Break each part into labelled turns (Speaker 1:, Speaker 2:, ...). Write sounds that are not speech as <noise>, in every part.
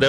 Speaker 1: det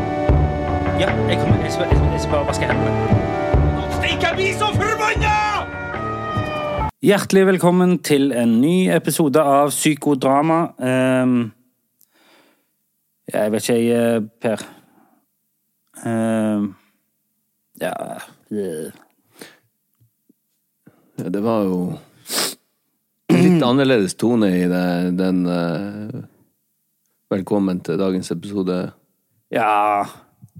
Speaker 2: Ja, jeg kommer, jeg skal, jeg skal- jeg skal bare vaske hendene.
Speaker 1: Stikk, jeg blir så forbanna!
Speaker 2: Hjertelig velkommen til en ny episode av Psykodrama. Ehm, jeg vet ikke, jeg, eh, Per. Ehm, ja eh,
Speaker 3: Ja, Det var jo litt annerledes tone i det, den eh, Velkommen til dagens episode.
Speaker 2: Ja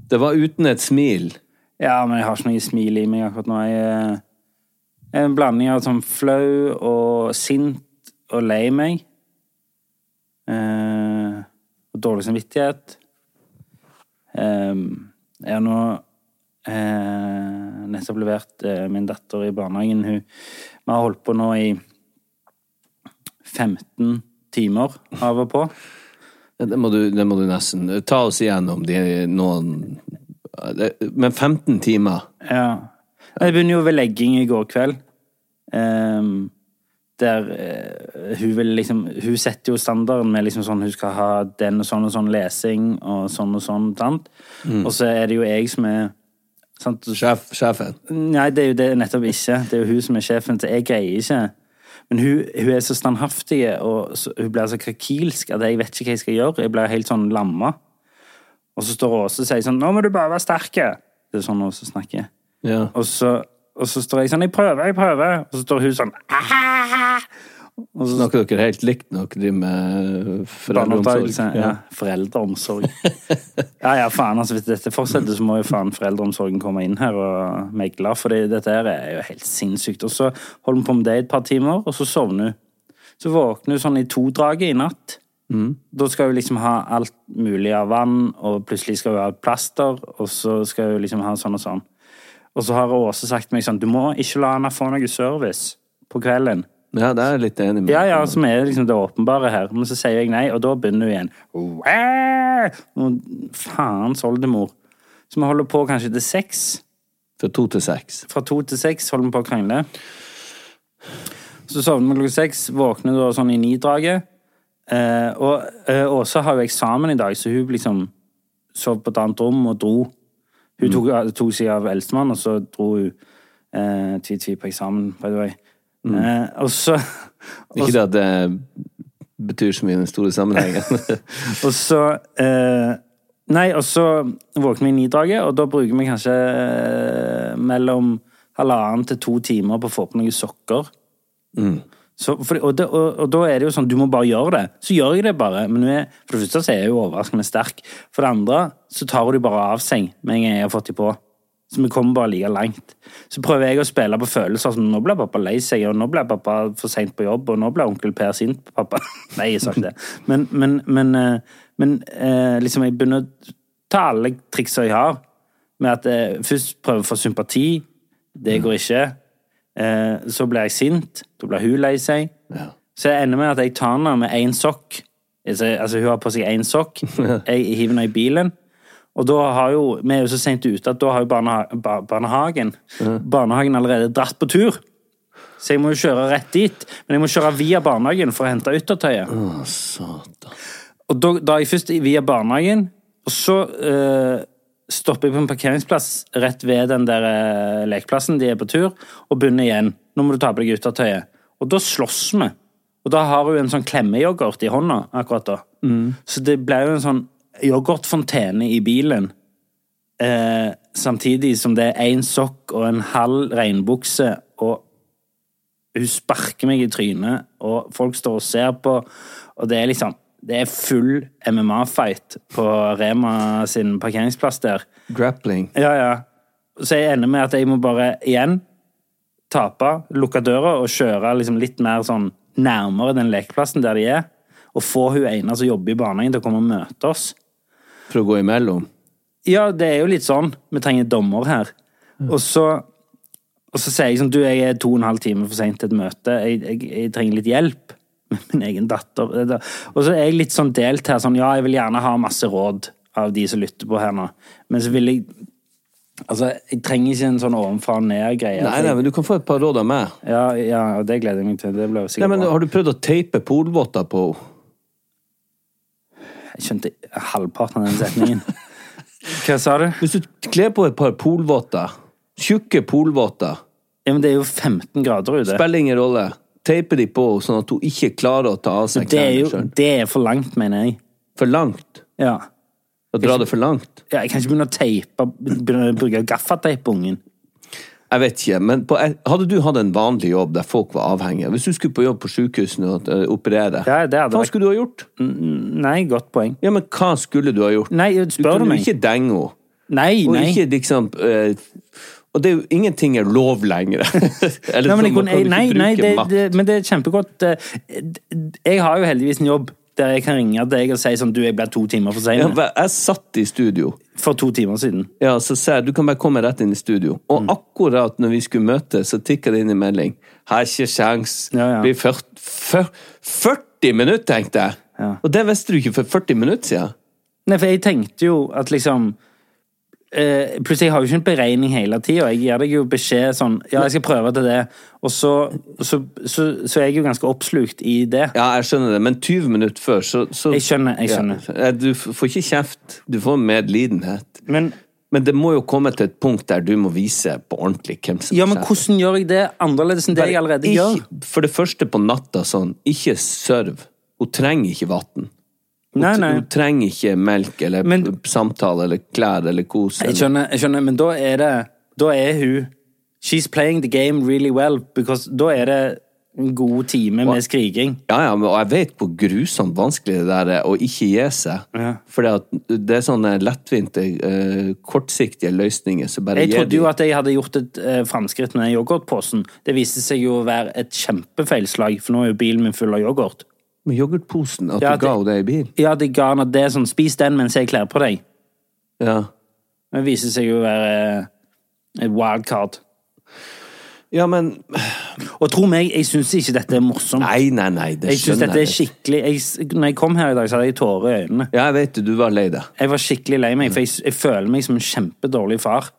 Speaker 3: Det var uten et smil.
Speaker 2: Ja, men jeg har ikke noe smil i meg akkurat nå. Jeg eh, er en blanding av sånn flau og sint og lei meg. Eh, og dårlig samvittighet. Ehm, jeg har nå eh, nettopp levert eh, min datter i barnehagen. Hun, vi har holdt på nå i 15 timer av og på.
Speaker 3: Ja, Det må du, det må du nesten eh, Ta oss igjennom de noen eh, det- Men 15 timer
Speaker 2: Ja. Jeg begynner jo ved legging i går kveld. Ehm, der eh, hun vil liksom Hun setter jo standarden med liksom sånn hun skal ha den og sånn og sånn lesing og sånn og sånn. Sant? Og så er det jo jeg som er sant?
Speaker 3: Sjef, Sjefen.
Speaker 2: Nei, det er jo det jeg nettopp ikke. Det er jo hun som er sjefen, så jeg greier ikke. Men hun, hun er så standhaftig, og så, hun blir så krakilsk at jeg vet ikke hva jeg skal gjøre. Jeg blir helt sånn lamma. Og så står Åse og sier sånn 'Nå må du bare være sterk'. Det er sånn Åse snakker.
Speaker 3: Ja.
Speaker 2: Og så, og så står jeg sånn 'Jeg prøver, jeg prøver', og så står hun sånn «Ah!» Og så
Speaker 3: Snakker dere helt likt når dere driver med
Speaker 2: Barneoppdragelse.
Speaker 3: foreldreomsorg?
Speaker 2: Ja. Foreldreomsorg. <laughs> Ja ja, faen. altså Hvis dette fortsetter, så må jo faen foreldreomsorgen komme inn her og megle. For det, dette her er jo helt sinnssykt. Og så holder vi på med det i et par timer, og så sovner hun. Så våkner hun sånn i to-draget i natt. Da skal hun liksom ha alt mulig av vann, og plutselig skal hun ha et plaster, og så skal hun liksom ha sånn og sånn. Og så har Åse sagt til meg sånn Du må ikke la henne få noe service på kvelden.
Speaker 3: Ja, det er jeg litt enig med.
Speaker 2: Ja, ja, som er liksom det åpenbare her. Men så sier jeg nei, og da begynner hun igjen. Wow! Og Faens oldemor. Så vi holder på kanskje til seks.
Speaker 3: Fra to til seks.
Speaker 2: Fra to til seks holder vi på å krangle. Så sovner vi klokka seks, våkner da sånn i ni-draget. Eh, og eh, Åsa har jo eksamen i dag, så hun liksom sov på et annet rom og dro. Hun tok, eh, tok seg av eldstemann, og så dro hun eh, tvi-tvi på eksamen, by the way. Eh, og så
Speaker 3: Ikke det at det betyr så mye i den store
Speaker 2: <laughs>
Speaker 3: sammenhengen.
Speaker 2: Og så eh, Nei, og så våkner vi i nidraget, og da bruker vi kanskje eh, mellom halvannen til to timer på å få på noen sokker. Så, for, og, det, og, og da er det jo sånn, du må bare gjøre det. Så gjør jeg det bare. Men hun er, for det første så er jeg jo overraskende sterk. For det andre så tar hun det bare av seg med en gang jeg har fått dem på. Så vi kommer bare like langt. Så prøver jeg å spille på følelser som nå ble pappa lei seg, og nå ble pappa for seint på jobb, og nå ble onkel Per sint på pappa. <laughs> Nei, jeg sa ikke det. Men, men, men, eh, men eh, liksom, jeg begynner å ta alle triksa jeg har, med at jeg først prøver å få sympati. Det går ikke. Eh, så blir jeg sint. Da blir hun lei seg. Så jeg ender med at jeg tar henne med én sokk. Altså, altså, hun har på seg én sokk. Jeg hiver henne i bilen. Og da har jo, vi er jo så sent ute at da har jo barneha bar barnehagen Barnehagen allerede dratt på tur. Så jeg må jo kjøre rett dit. Men jeg må kjøre via barnehagen for å hente yttertøyet.
Speaker 3: Å, satan.
Speaker 2: Og da, da er jeg først via barnehagen, og så eh, stopper jeg på en parkeringsplass rett ved den der eh, lekeplassen de er på tur, og begynner igjen. Nå må du ta på deg guttetøyet. Og da slåss vi. Og da har hun en sånn klemmeyoghurt i hånda akkurat da. Så det ble jo en sånn yoghurtfontene i bilen. Eh, samtidig som det er én sokk og en halv regnbukse, og hun sparker meg i trynet, og folk står og ser på, og det er liksom Det er full MMA-fight på Rema sin parkeringsplass der.
Speaker 3: Grappling.
Speaker 2: Ja, ja. Så jeg ender med at jeg må bare igjen tape, lukke døra og kjøre liksom litt mer sånn nærmere den lekeplassen der de er, og få hun ene som jobber i barnehagen til å komme og møte oss.
Speaker 3: For å gå imellom.
Speaker 2: Ja, det er jo litt sånn. Vi trenger dommer her.
Speaker 3: Mm.
Speaker 2: Og så, og så sier jeg sånn Du, jeg er to og en halv time for seint til et møte. Jeg, jeg, jeg trenger litt hjelp <laughs> med min egen datter. Det- det- Og så er jeg litt sånn delt her. Sånn, ja, jeg vil gjerne ha masse råd av de som lytter på her nå, men så vil jeg Altså, jeg trenger ikke en sånn ovenfra og ned-greie.
Speaker 3: Nei, nei, men du kan få et par råd av meg.
Speaker 2: Ja, ja, og det gleder jeg meg til. Det blir
Speaker 3: Nei,
Speaker 2: jo sikkert
Speaker 3: men
Speaker 2: bra.
Speaker 3: Har du prøvd å teipe polvotter på henne?
Speaker 2: Jeg skjønte halvparten av den setningen. <laughs> Hva sa du?
Speaker 3: Hvis du kler på et par polvotter, tjukke polvotter,
Speaker 2: Ja, men det er jo 15 grader ute.
Speaker 3: spiller ingen rolle, teiper de på henne sånn at hun ikke klarer å ta av seg
Speaker 2: Det er
Speaker 3: klærne
Speaker 2: jo
Speaker 3: sjøl.
Speaker 2: det er for langt, mener jeg.
Speaker 3: For langt.
Speaker 2: Ja.
Speaker 3: Å dra det for langt.
Speaker 2: ja jeg kan ikke begynne å teipe Begynne å bruke gaffateip på ungen.
Speaker 3: Jeg vet ikke, men på, hadde du hatt en vanlig jobb der folk var avhengige Hvis du skulle på jobb på sjukehuset nå og eh, operere,
Speaker 2: Ja, det hadde
Speaker 3: hva
Speaker 2: vært-
Speaker 3: skulle du ha gjort?
Speaker 2: Nei, godt poeng.
Speaker 3: Ja, men hva skulle du ha gjort?
Speaker 2: Nei,
Speaker 3: Du
Speaker 2: spør du
Speaker 3: kunne
Speaker 2: meg.
Speaker 3: jo ikke denge henne.
Speaker 2: Nei,
Speaker 3: Og
Speaker 2: nei.
Speaker 3: ikke liksom eh, Og det er jo ingenting er lov lenger. <laughs> Eller sånn,
Speaker 2: nei, men jeg
Speaker 3: man
Speaker 2: kunne,
Speaker 3: kan jo ikke
Speaker 2: nei, nei
Speaker 3: bruke
Speaker 2: det,
Speaker 3: makt.
Speaker 2: det, men det er kjempegodt. eh, Jeg har jo heldigvis en jobb der jeg kan ringe deg og si sånn Du, jeg ble to timer
Speaker 3: Ja,
Speaker 2: for sein
Speaker 3: for Jeg satt i studio,
Speaker 2: for to timer siden.
Speaker 3: ja, så sa jeg du kan bare komme rett inn i studio.
Speaker 2: Mm.
Speaker 3: Og akkurat når vi skulle møtes, så tikka det inn en melding. Har ikke sjans.
Speaker 2: Ja, ja.
Speaker 3: Blir ført- fyr- 40 minutter, tenkte jeg!
Speaker 2: Ja.
Speaker 3: Og det visste du ikke for 40 minutter siden.
Speaker 2: Nei, for jeg tenkte jo at liksom eh, Plutselig jeg har jo ikke en beregning hele tida. Jeg gir deg jo beskjed sånn Ja, jeg skal prøve til det. Og så, så, så, så er jeg jo ganske oppslukt i det.
Speaker 3: Ja, jeg skjønner det, men 20 minutter før, så, så
Speaker 2: Jeg skjønner, jeg
Speaker 3: Ja, du f- får ikke kjeft. Du får medlidenhet.
Speaker 2: Men
Speaker 3: Men det må jo komme til et punkt der du må vise på ordentlig hvem som
Speaker 2: ja, men
Speaker 3: er sjefen.
Speaker 2: hvordan gjør jeg det annerledes enn det jeg allerede
Speaker 3: Ikke-
Speaker 2: gjør?
Speaker 3: For det første på natta sånn, ikke serv. Hun trenger ikke vann. Hun,
Speaker 2: Nei,
Speaker 3: t-
Speaker 2: nei.
Speaker 3: hun trenger ikke melk eller
Speaker 2: Men-
Speaker 3: p- samtale eller klær eller kos.
Speaker 2: Jeg
Speaker 3: Eller.
Speaker 2: skjønner, jeg skjønner, men da er det Da er hun She's playing the game really well, because da er det en god time med skriking.
Speaker 3: Ja, ja, men, og jeg vet hvor grusomt vanskelig det der er å ikke gi seg. For det er sånne lettvinte, eh, kortsiktige løsninger som bare
Speaker 2: Jeg
Speaker 3: gir
Speaker 2: trodde
Speaker 3: de.
Speaker 2: jo at jeg hadde gjort et eh, framskritt med yoghurtposen. Det viste seg jo å være et kjempefeilslag, for nå er jo bilen min full av yoghurt.
Speaker 3: Med yoghurtposen, at
Speaker 2: Ja,
Speaker 3: du ga
Speaker 2: det-
Speaker 3: henne det i bil.
Speaker 2: Ja, de ga henne det sånn, spis den mens jeg kler på deg.
Speaker 3: Ja.
Speaker 2: Men det viste seg jo å være eh, et wildcard.
Speaker 3: ja, men
Speaker 2: Og tro meg, jeg syns ikke dette er morsomt.
Speaker 3: Nei, nei, nei, det
Speaker 2: jeg syns
Speaker 3: skjønner
Speaker 2: dette er
Speaker 3: jeg.
Speaker 2: skikkelig jeg, s- Når jeg kom her i dag, så hadde jeg tårer i øynene.
Speaker 3: Ja, jeg vet det, du var lei deg.
Speaker 2: Jeg var skikkelig lei meg, for jeg, s- jeg føler meg som en kjempedårlig far.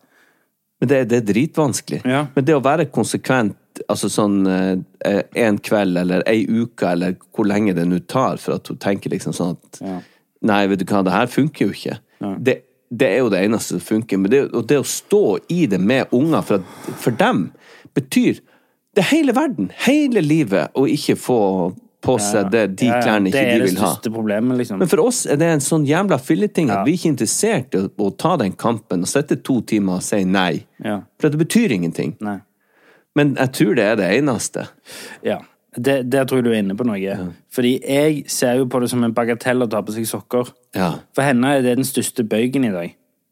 Speaker 3: Men det, det er dritvanskelig.
Speaker 2: Ja.
Speaker 3: Men det å være konsekvent altså sånn eh, en kveld eller ei uke eller hvor lenge det nå tar for at hun tenker liksom sånn at Nei, vet du hva, det her funker jo ikke. Det, det er jo det eneste som funker. Men det, og det å stå i det med unger for, at, for dem betyr det er hele verden, hele livet, å ikke få på seg det, de
Speaker 2: Ja, ja,
Speaker 3: klærne ikke de vil
Speaker 2: Det er det
Speaker 3: ha.
Speaker 2: største problemet, liksom.
Speaker 3: Men for oss er det en sånn jævla filleting at vi er ikke er interessert i å, å ta den kampen og sitte to timer og si nei.
Speaker 2: Ja.
Speaker 3: For det betyr ingenting.
Speaker 2: Nei.
Speaker 3: Men jeg tror det er det eneste.
Speaker 2: Ja. Det, der tror jeg du er inne på noe. Fordi jeg ser jo på det som en bagatell å ta på seg sokker.
Speaker 3: Ja,
Speaker 2: For henne er det den største bøygen i dag.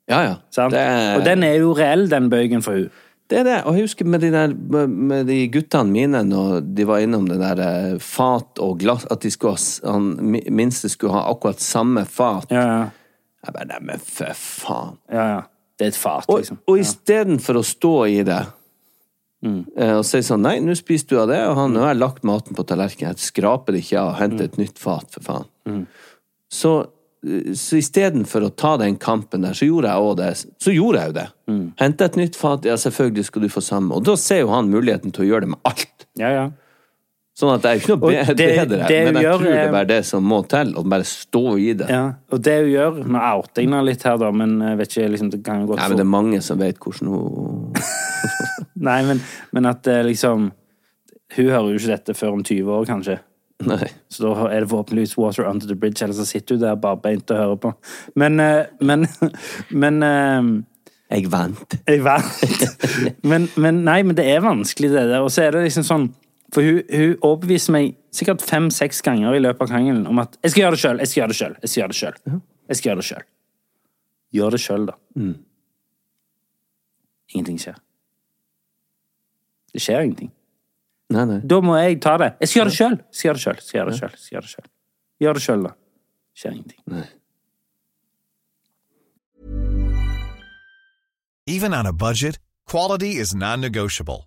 Speaker 3: ja. ja.
Speaker 2: Sant?
Speaker 3: Det, er,
Speaker 2: Og den er jo reell, den bøygen for hun.
Speaker 3: det er det. Og jeg husker med de, der, med- med de guttene mine når de var innom det der eh, fat og glass At de skulle ha, s- han mi- minste skulle ha akkurat samme fat.
Speaker 2: Ja, ja.
Speaker 3: Jeg bare, nei, men for faen.
Speaker 2: ja, ja. Det er et fat,
Speaker 3: Og,
Speaker 2: liksom.
Speaker 3: og istedenfor å stå i det
Speaker 2: Mm.
Speaker 3: eh, og si sånn Nei, nå spiser du av det, og han, nå har jeg lagt maten på tallerkenen. Jeg skraper det ikke av.
Speaker 2: Mm.
Speaker 3: Henter et nytt fat, for faen. Så, eh, så istedenfor å ta den kampen der, så gjorde jeg òg det. Så gjorde jeg jo det.
Speaker 2: Mm.
Speaker 3: Hente et nytt fat. Ja, selvfølgelig skal du få samme. Og da ser jo han muligheten til å gjøre det med alt.
Speaker 2: Ja, ja.
Speaker 3: Sånn at det er jo ikke noe
Speaker 2: Og
Speaker 3: be-
Speaker 2: det-
Speaker 3: bedre,
Speaker 2: det
Speaker 3: men jeg
Speaker 2: gjør,
Speaker 3: tror det
Speaker 2: eh,
Speaker 3: er bare det som må til. Å bare stå i det.
Speaker 2: ja. Og det hun gjør Nå outer jeg henne litt her, da, men jeg vet ikke liksom, Det kan jo godt
Speaker 3: Nei,
Speaker 2: fort-
Speaker 3: men det er mange som vet hvordan hun
Speaker 2: Nei, men, men at eh, liksom Hun hører jo ikke dette før om 20 år, kanskje.
Speaker 3: Nei.
Speaker 2: Så da er det forhåpentligvis Water Under the Bridge, eller så sitter hun der barbeint og hører på. Men eh, Men, <laughs> men eh,
Speaker 3: Jeg venter.
Speaker 2: Jeg vet.
Speaker 3: <laughs>
Speaker 2: Men, men nei, men det er vanskelig, det der. Og så er det liksom sånn For hun, hun overbeviser meg sikkert fem-seks ganger i løpet av krangelen om at 'Jeg skal gjøre det sjøl, jeg skal gjøre det sjøl, jeg skal gjøre det sjøl'. Jeg skal gjøre det selv. Gjør det sjøl, da.
Speaker 3: Mm.
Speaker 2: Ingenting skjer. Det skjer ingenting.
Speaker 3: Nei, nei.
Speaker 2: Da må jeg ta det. Jeg skal gjøre det sjøl! Skal gjøre det sjøl, skal gjøre det sjøl, skal gjøre det sjøl. Gjør det sjøl, da. Skjer ingenting.
Speaker 4: Even on a budget, Quality is non-negotiable.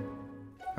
Speaker 5: All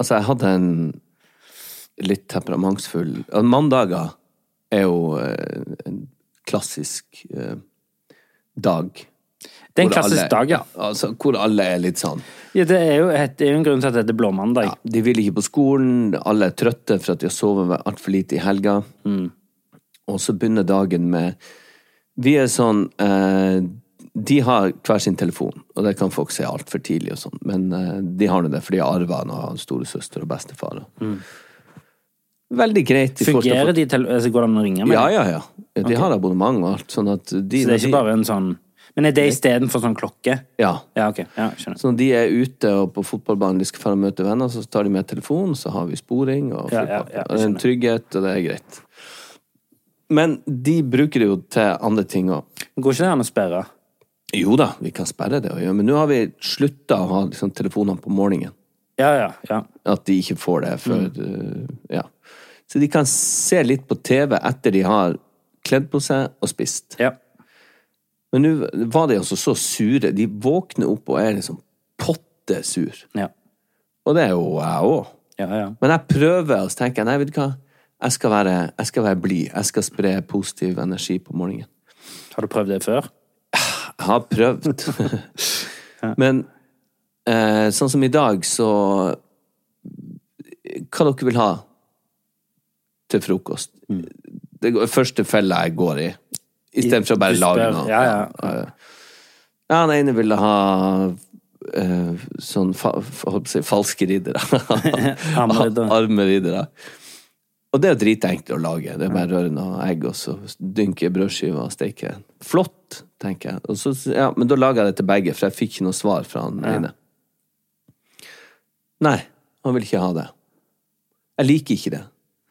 Speaker 3: Altså, jeg hadde en litt temperamentsfull og Mandager er jo eh, en klassisk eh, dag.
Speaker 2: Det er en
Speaker 3: hvor alle-
Speaker 2: klassisk dag, ja.
Speaker 3: Altså, hvor alle er litt sånn
Speaker 2: ja det, er jo, et- det er jo en grunn til at det heter blåmandag.
Speaker 3: ja, De vil ikke på skolen, alle er trøtte for at de har sovet altfor lite i helga.
Speaker 2: Mm.
Speaker 3: Og så begynner dagen med Vi er sånn eh, De har hver sin telefon, og det kan folk se altfor tidlig og sånn, men eh, de har nå det, for de har arva den av storesøster og bestefar. Veldig greit. i forhold til
Speaker 2: Mm. Fungerer
Speaker 3: folk-
Speaker 2: de til altså, Går det an å ringe med?
Speaker 3: Ja, ja, ja. De har abonnement og alt, sånn at de
Speaker 2: Så det er ikke bare en sånn Men er det istedenfor sånn klokke?
Speaker 3: Ja.
Speaker 2: Ja, ok. Ja, skjønner.
Speaker 3: Så når de er ute og på fotballbanen de skal fære og møte venner, så tar de med telefonen, så har vi sporing og
Speaker 2: Ja, ja,
Speaker 3: full pakke.
Speaker 2: ja, jeg
Speaker 3: Og det er en trygghet, og det er greit. Men de bruker det jo til andre ting òg.
Speaker 2: Går ikke det an å sperre?
Speaker 3: Jo da, vi kan sperre det, og gjøre, men nå har vi slutta å ha liksom, telefonene på morgenen.
Speaker 2: Ja, ja, ja.
Speaker 3: At de ikke får det før
Speaker 2: Mm.
Speaker 3: eh, Ja. Så de kan se litt på TV etter de har kledd på seg og spist.
Speaker 2: ja.
Speaker 3: Men nå var de altså så sure. De våkner opp og er liksom pottesur.
Speaker 2: Ja,
Speaker 3: Og det er jo jeg òg.
Speaker 2: ja. ja.
Speaker 3: Men jeg prøver, og så tenker jeg nei, vet du hva, jeg skal være, jeg skal være blid. Jeg skal spre positiv energi på morgenen.
Speaker 2: Har du prøvd det før?
Speaker 3: Jeg har
Speaker 2: <laughs>
Speaker 3: prøvd. Men eh, sånn som i dag, så Hva dere vil ha til frokost?
Speaker 2: Mm.
Speaker 3: Det er første fella jeg går i. Istedenfor å bare
Speaker 2: Du
Speaker 3: lage
Speaker 2: spør-
Speaker 3: noe.
Speaker 2: Ja, ja.
Speaker 3: Ja, han ene ville ha eh, sånn fa fa- holdt på å si, falske riddere. <laughs>
Speaker 2: Armeriddere.
Speaker 3: Armeriddere. Og det er jo dritenkelt å lage. Det er bare å røre noe egg, og så dynke i brødskiva og steke. Flott, tenker jeg. Og så, ja, men da laga jeg det til begge, for jeg fikk ikke noe svar fra han ene. Nei, han vil ikke ha det. Jeg liker ikke det.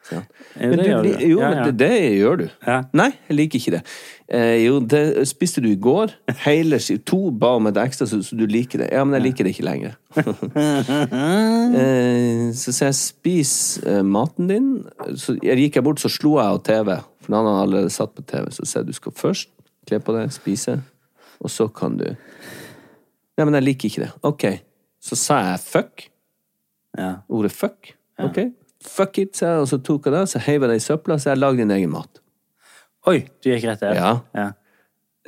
Speaker 3: sier han.
Speaker 2: Jo,
Speaker 3: Men
Speaker 2: det gjør du.
Speaker 3: Jo,
Speaker 2: Ja,
Speaker 3: men
Speaker 2: ja.
Speaker 3: Det, det gjør du.
Speaker 2: Ja.
Speaker 3: Nei, jeg liker ikke det. Eh, jo, det spiste du i går. Hele ski- To ba om et ekstra, så, så du liker det. Ja, men jeg liker det ikke
Speaker 2: <laughs>
Speaker 3: lenger. eh, så sier jeg spis eh, maten din. Så jeg gikk jeg bort, så slo jeg av TV. For han hadde allerede satt på TV. Så sier jeg du skal først kle på deg, spise, og så kan du Nei, men jeg liker ikke det. Ok. Så sa jeg fuck. Ordet fuck. Ok. Fuck it, sa jeg, og så tok jeg det, så heiv jeg det i søpla, så jeg lagde din egen mat.
Speaker 2: Oi, du gikk rett der.
Speaker 3: Ja.
Speaker 2: ja.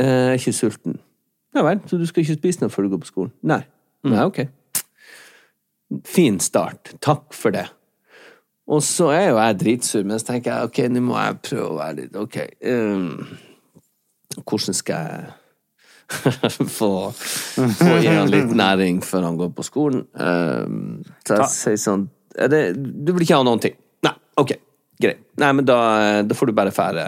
Speaker 3: Eh, Jeg er ikke sulten. Ja vel, så du skal ikke spise noe før du går på skolen? Nei. Nei, ok. Mm. Fin start. Takk for det. Og så er jo jeg dritsur, men så tenker jeg ok, nå må jeg prøve å være litt ok. ehm, hvordan skal jeg <laughs> få, få gi han litt næring før han går på skolen? Ehm, så jeg sier sånn er det, Du vil ikke ha noen ting? Nei, ok, greit. Nei, men da, eh, da får du bare fære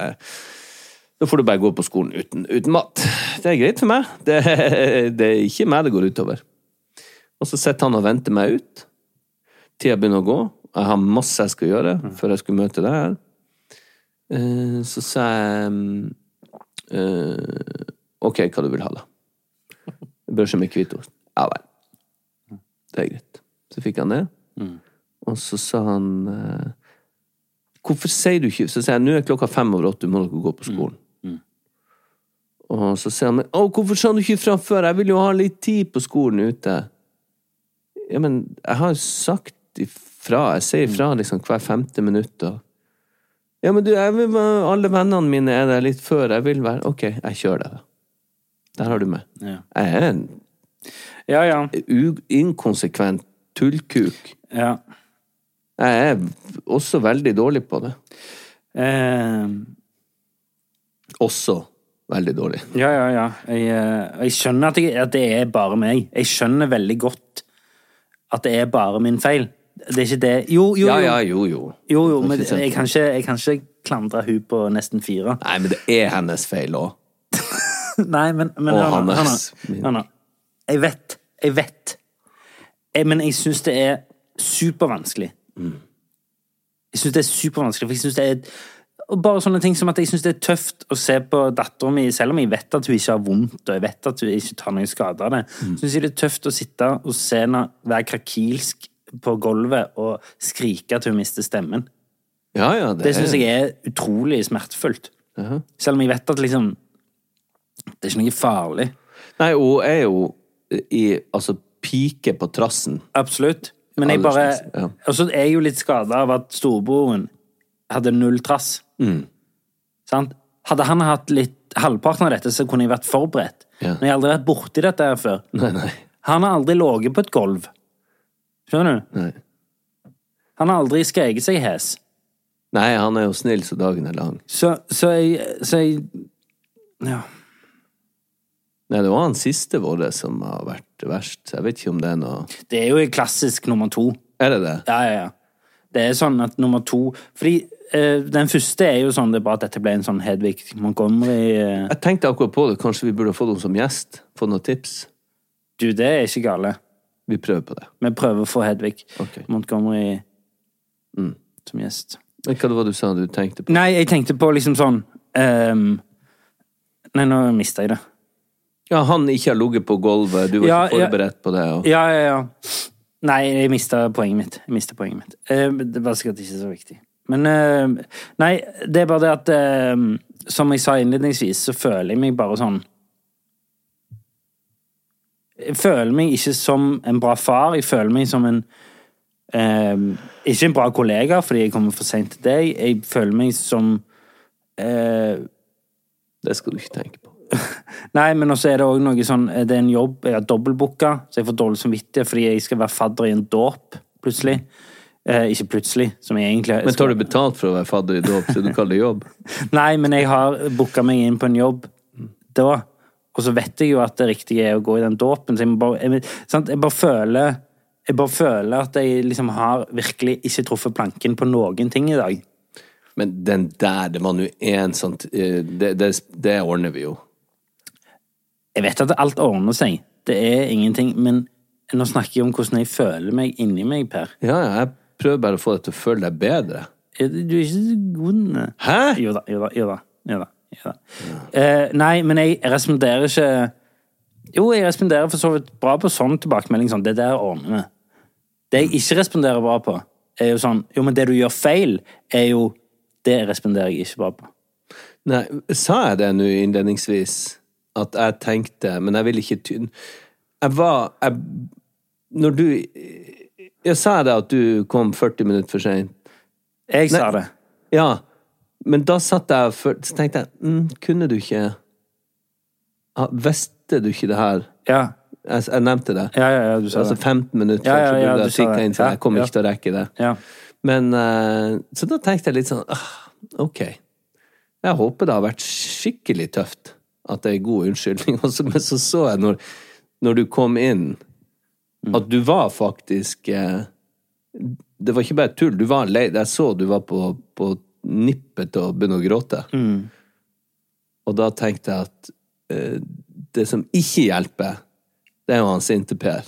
Speaker 3: da får du bare gå på skolen uten, uten mat. Det er greit for meg. Det, <laughs> det er ikke meg det går utover. Og så sitter han og venter meg ut. Tida begynner å gå. Jeg har masse jeg skal gjøre før jeg skulle møte deg her. Eh, Så sa jeg mm, eh, Ok, hva du vil ha, da? Brødskive med hvitost. Ja vel. Det er greit. Så fikk han det. Og så sa han eh, Hvorfor sier du ikke Så sier jeg nå er klokka fem over åtte, du må dere gå på skolen. Og så sier han men, å, hvorfor sa du ikke fra før? Jeg vil jo ha litt tid på skolen ute. Ja, men jeg har jo sagt ifra. Jeg sier ifra
Speaker 2: Mm.
Speaker 3: liksom hver femte minutt. Og... Ja, men du, jeg vil, være- alle vennene mine er der litt før. Jeg vil være Ok, jeg kjører deg, da. Der har du meg.
Speaker 2: Ja.
Speaker 3: Jeg er en
Speaker 2: Ja, ja.
Speaker 3: u inkonsekvent tullkuk.
Speaker 2: ja.
Speaker 3: Jeg er også veldig dårlig på det.
Speaker 2: Eh,
Speaker 3: Også veldig dårlig.
Speaker 2: ja, ja, ja. Jeg, eh, jeg skjønner at, jeg, at det er bare meg. Jeg skjønner veldig godt at det er bare min feil. Det er ikke det Jo, jo, jo.
Speaker 3: Ja, ja, jo, jo.
Speaker 2: jo, jo men
Speaker 3: Det er ikke sant.
Speaker 2: jeg kan ikke, jeg kan ikke klandre hun på nesten fire.
Speaker 3: Nei, men det er hennes feil òg.
Speaker 2: Nei, men, men
Speaker 3: Og
Speaker 2: hør nå, hør
Speaker 3: Hannes.
Speaker 2: nå, hør nå. Jeg vet. Jeg vet. Jeg, men jeg syns det er supervanskelig.
Speaker 3: Mm.
Speaker 2: Jeg syns det er supervanskelig, for jeg syns det er og bare sånne ting som at jeg syns det er tøft å se på dattera mi, selv om jeg vet at hun ikke har vondt, og jeg vet at hun ikke tar noen skade av det,
Speaker 3: Mm.
Speaker 2: syns jeg det er tøft å sitte og se henne være krakilsk på gulvet og skrike at hun mister stemmen.
Speaker 3: Ja, ja, det,
Speaker 2: Det syns jeg er utrolig smertefullt. Selv om jeg vet at liksom Det er ikke noe farlig.
Speaker 3: Nei, hun er jo i Altså, pike på trassen.
Speaker 2: Absolutt. Men jeg
Speaker 3: Aller
Speaker 2: bare
Speaker 3: slags, ja.
Speaker 2: Og så er jeg jo litt skada av at storebroren hadde null trass.
Speaker 3: Mm.
Speaker 2: Sant? Hadde han hatt litt halvparten av dette, så kunne jeg vært forberedt.
Speaker 3: Ja.
Speaker 2: Men jeg har aldri vært borti dette her før.
Speaker 3: Nei, nei.
Speaker 2: Han har aldri ligget på et gulv. Skjønner du?
Speaker 3: Nei.
Speaker 2: Han har aldri skreket seg hes.
Speaker 3: Nei, han er jo snill så dagen er lang.
Speaker 2: Så, så jeg Så jeg Ja.
Speaker 3: Nei, det var han siste våre som har vært verst. Jeg vet ikke om det er noe
Speaker 2: Det er jo klassisk nummer to.
Speaker 3: Er det det?
Speaker 2: Ja, ja, ja. Det er sånn at nummer to Fordi eh, den første er jo sånn Det er bare at dette ble en sånn Hedvig Montgomery eh,
Speaker 3: Jeg tenkte akkurat på det. Kanskje vi burde få dem som gjest? Få noen tips?
Speaker 2: Du, det er ikke gale.
Speaker 3: Vi prøver på det.
Speaker 2: Vi prøver å få Hedvig
Speaker 3: Ok.
Speaker 2: Montgomery mm, som gjest.
Speaker 3: Men hva det var det du sa du tenkte på?
Speaker 2: Nei, jeg tenkte på liksom sånn ehm, Nei, nå mista jeg det.
Speaker 3: Ja, han ikke har ligget på gulvet, du var
Speaker 2: Ja,
Speaker 3: ikke
Speaker 2: ja.
Speaker 3: forberedt på det. Og...
Speaker 2: Ja, ja, ja. Nei, jeg mista poenget mitt. Jeg mistet poenget mitt. Eh, det var sikkert ikke så viktig. Men eh, Nei, det er bare det at eh, Som jeg sa innledningsvis, så føler jeg meg bare sånn Jeg føler meg ikke som en bra far. Jeg føler meg som en eh, Ikke en bra kollega, fordi jeg kommer for seint til deg. Jeg føler meg som eh,
Speaker 3: Det skal du ikke tenke på.
Speaker 2: Nei, men også er det også noe sånn Det er en jobb, jeg har dobbeltbooka, så jeg får dårlig samvittighet fordi jeg skal være fadder i en dåp, plutselig. Eh, ikke plutselig, som jeg egentlig
Speaker 3: Men tar du betalt for å være fadder i dåp, så du kaller det jobb?
Speaker 2: Nei, men jeg har booka meg inn på en jobb da, og så vet jeg jo at det riktige er å gå i den dåpen, så jeg må bare jeg, sant? jeg bare føler jeg bare føler at jeg liksom har virkelig ikke truffet planken på noen ting i dag.
Speaker 3: Men den der, det var nå én sånn det, det, det ordner vi jo.
Speaker 2: Jeg vet at alt ordner seg, det er ingenting, men nå snakker jeg om hvordan jeg føler meg inni meg, Per.
Speaker 3: Ja, ja, jeg prøver bare å få deg til å føle deg bedre.
Speaker 2: Er det- Du er ikke så god nå.
Speaker 3: Hæ?
Speaker 2: Jo da, jo da, jo da. Jo da, jo da. Eh, nei, men jeg responderer ikke Jo, jeg responderer for så vidt bra på sånn tilbakemelding. Sånn, det der ordner vi. Det jeg ikke responderer bra på, er jo sånn Jo, men det du gjør feil, er jo Det responderer jeg ikke bra på.
Speaker 3: Nei, sa jeg det nå innledningsvis? At jeg tenkte, men jeg vil ikke ty... Jeg var jeg, Når du Jeg sa det at du kom 40 minutter for seint.
Speaker 2: Jeg sa
Speaker 3: Nei.
Speaker 2: det.
Speaker 3: Ja, men da satt jeg og føl- Så tenkte jeg, mm, kunne du ikke ha- Visste du ikke det her?
Speaker 2: Ja,
Speaker 3: Jeg, jeg nevnte det.
Speaker 2: ja, ja, ja du sa
Speaker 3: Altså
Speaker 2: det.
Speaker 3: 15 minutter
Speaker 2: Ja, ja,
Speaker 3: før, så
Speaker 2: ja,
Speaker 3: burde
Speaker 2: du
Speaker 3: jeg
Speaker 2: sa
Speaker 3: sikta
Speaker 2: det.
Speaker 3: inn, for
Speaker 2: Ja,
Speaker 3: jeg kommer
Speaker 2: ja.
Speaker 3: ikke til å rekke det.
Speaker 2: Ja.
Speaker 3: Men eh, Så da tenkte jeg litt sånn ah, Ok. Jeg håper det har vært skikkelig tøft at det er god unnskyldning. Og så- Men så så jeg når, når du kom inn, at du var faktisk eh, Det var ikke bare tull, du var lei. Jeg så du var på, på nippet til å begynne å gråte. Og da tenkte jeg at eh, det som ikke hjelper, det er jo han sinte Per.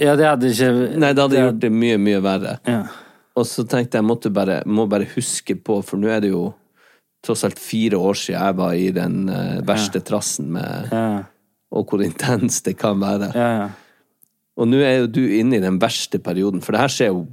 Speaker 2: ja, det hadde ikke
Speaker 3: Nei, det hadde gjort det mye, mye verre.
Speaker 2: Ja.
Speaker 3: Og så tenkte jeg måtte bare, må bare huske på, for nå er det jo tross alt fire år siden jeg var i den eh, verste trassen med Og hvor intens det kan være.
Speaker 2: Ja, ja.
Speaker 3: Og nå er jo du inne i den verste perioden, for det her skjer jo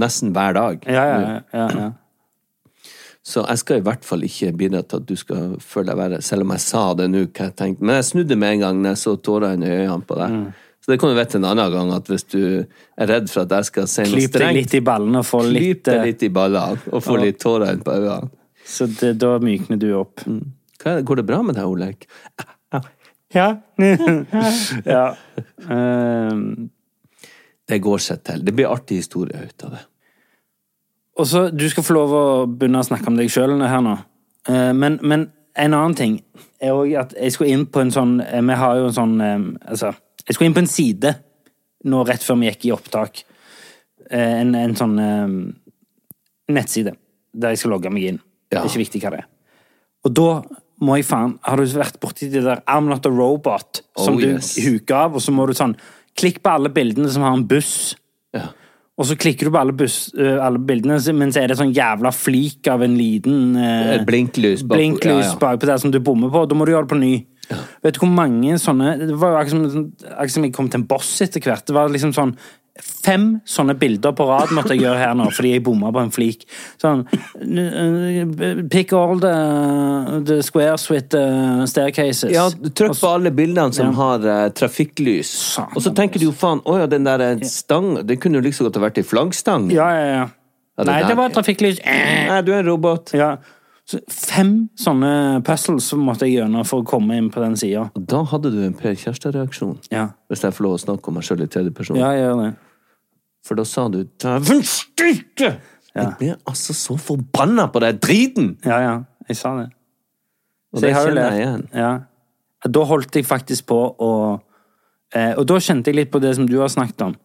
Speaker 3: nesten hver dag.
Speaker 2: Ja, ja, ja, ja, ja.
Speaker 3: Så jeg skal i hvert fall ikke bidra til at du skal føle deg verre, selv om jeg sa det nå. hva jeg tenkte. Men jeg snudde med en gang når jeg så tårene i øynene på deg.
Speaker 2: Mm.
Speaker 3: Så det kan du vite en annen gang, at hvis du er redd for at jeg skal si noe
Speaker 2: Klyp deg litt
Speaker 3: strengt,
Speaker 2: i ballene og få
Speaker 3: klyp
Speaker 2: litt,
Speaker 3: deg
Speaker 2: eh,
Speaker 3: litt i ballene og få litt tårer inn på øynene.
Speaker 2: Så det, da mykner du opp.
Speaker 3: Hva, er det- går det bra med deg, Oleg?
Speaker 2: Ja. <laughs> ja. Ehm,
Speaker 3: Det går seg til. Det blir artig historie ut av det.
Speaker 2: Og så, Du skal få lov å begynne å snakke om deg sjøl her nå. Eh, Men, men en annen ting er òg at jeg skulle inn på en sånn eh, Vi har jo en sånn eh, Altså, jeg skulle inn på en side nå rett før vi gikk i opptak. Eh, En, en sånn eh, nettside der jeg skal logge meg inn. Det
Speaker 3: Ja.
Speaker 2: er ikke viktig hva det er. Og da må jeg faen Har du vært borti det der I'm not a robot som
Speaker 3: Oh,
Speaker 2: du
Speaker 3: yes.
Speaker 2: huker av, og så må du sånn Klikk på alle bildene som har en buss.
Speaker 3: Ja.
Speaker 2: Og så klikker du på alle, buss, ø, alle bildene, men så er det sånn jævla flik av en liten eh,
Speaker 3: Et blinklys bak-
Speaker 2: blinklys
Speaker 3: ja, ja.
Speaker 2: bakpå der som du bommer på. Da må du gjøre det på ny. Vet du hvor mange sånne Det var jo akkurat som, akkurat som jeg kom til en boss etter hvert. Det var liksom sånn Fem sånne bilder på rad måtte jeg gjøre her nå, fordi jeg bomma på en flik. Sånn n- n- Pick all the, the squares with the staircases.
Speaker 3: Ja, trykk på alle bildene som har eh, trafikklys.
Speaker 2: Satan, altså.
Speaker 3: Og så tenker du jo faen, å ja, den der eh, stang, den kunne jo like så godt ha vært i flaggstang.
Speaker 2: ja, ja, ja.
Speaker 3: det
Speaker 2: Nei,
Speaker 3: der-
Speaker 2: det var trafikklys. Eh.
Speaker 3: Nei, du er en robot.
Speaker 2: Ja. Så fem sånne puzzles så måtte jeg gjennom for å komme inn på den sida.
Speaker 3: Da hadde du en Per Kjærstad-reaksjon.
Speaker 2: Ja.
Speaker 3: Hvis jeg får lov å snakke om meg sjøl i tredje person.
Speaker 2: ja, jeg gjør det.
Speaker 3: For da sa du Dæven steike! Jeg ble altså så forbanna på den driten!
Speaker 2: Ja, ja. Jeg sa det.
Speaker 3: Og
Speaker 2: Så
Speaker 3: det
Speaker 2: jeg har jo
Speaker 3: kjenner jeg igjen.
Speaker 2: lært. Ja. Da holdt jeg faktisk på å eh, Og da kjente jeg litt på det som du har snakket om.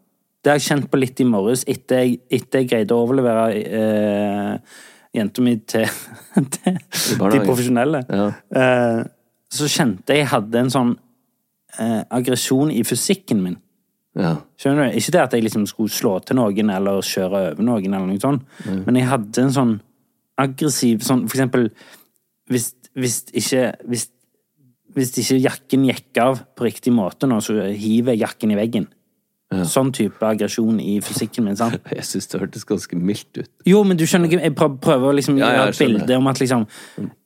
Speaker 2: Det har jeg kjent på litt i morges, etter jeg, etter jeg greide å overlevere eh, jenta mi til, <laughs> til de
Speaker 3: barnehagen.
Speaker 2: profesjonelle.
Speaker 3: Ja.
Speaker 2: Eh, så kjente jeg hadde en sånn eh, aggresjon i fysikken min.
Speaker 3: Ja.
Speaker 2: Skjønner du? Ikke det at jeg liksom skulle slå til noen eller kjøre over noen, eller noe sånt, men jeg hadde en sånn aggressiv sånn For eksempel hvis, hvis ikke hvis, hvis ikke jakken gikk av på riktig måte nå, så hiver jeg jakken i veggen. Sånn type aggresjon i fysikken min. sant?
Speaker 3: Jeg syns det hørtes ganske mildt ut.
Speaker 2: <laughs> Jo, men du skjønner ikke Jeg prøver, prøver å liksom
Speaker 3: Ja,
Speaker 2: gjøre
Speaker 3: ja,
Speaker 2: et
Speaker 3: jeg skjønner.
Speaker 2: bilde om at liksom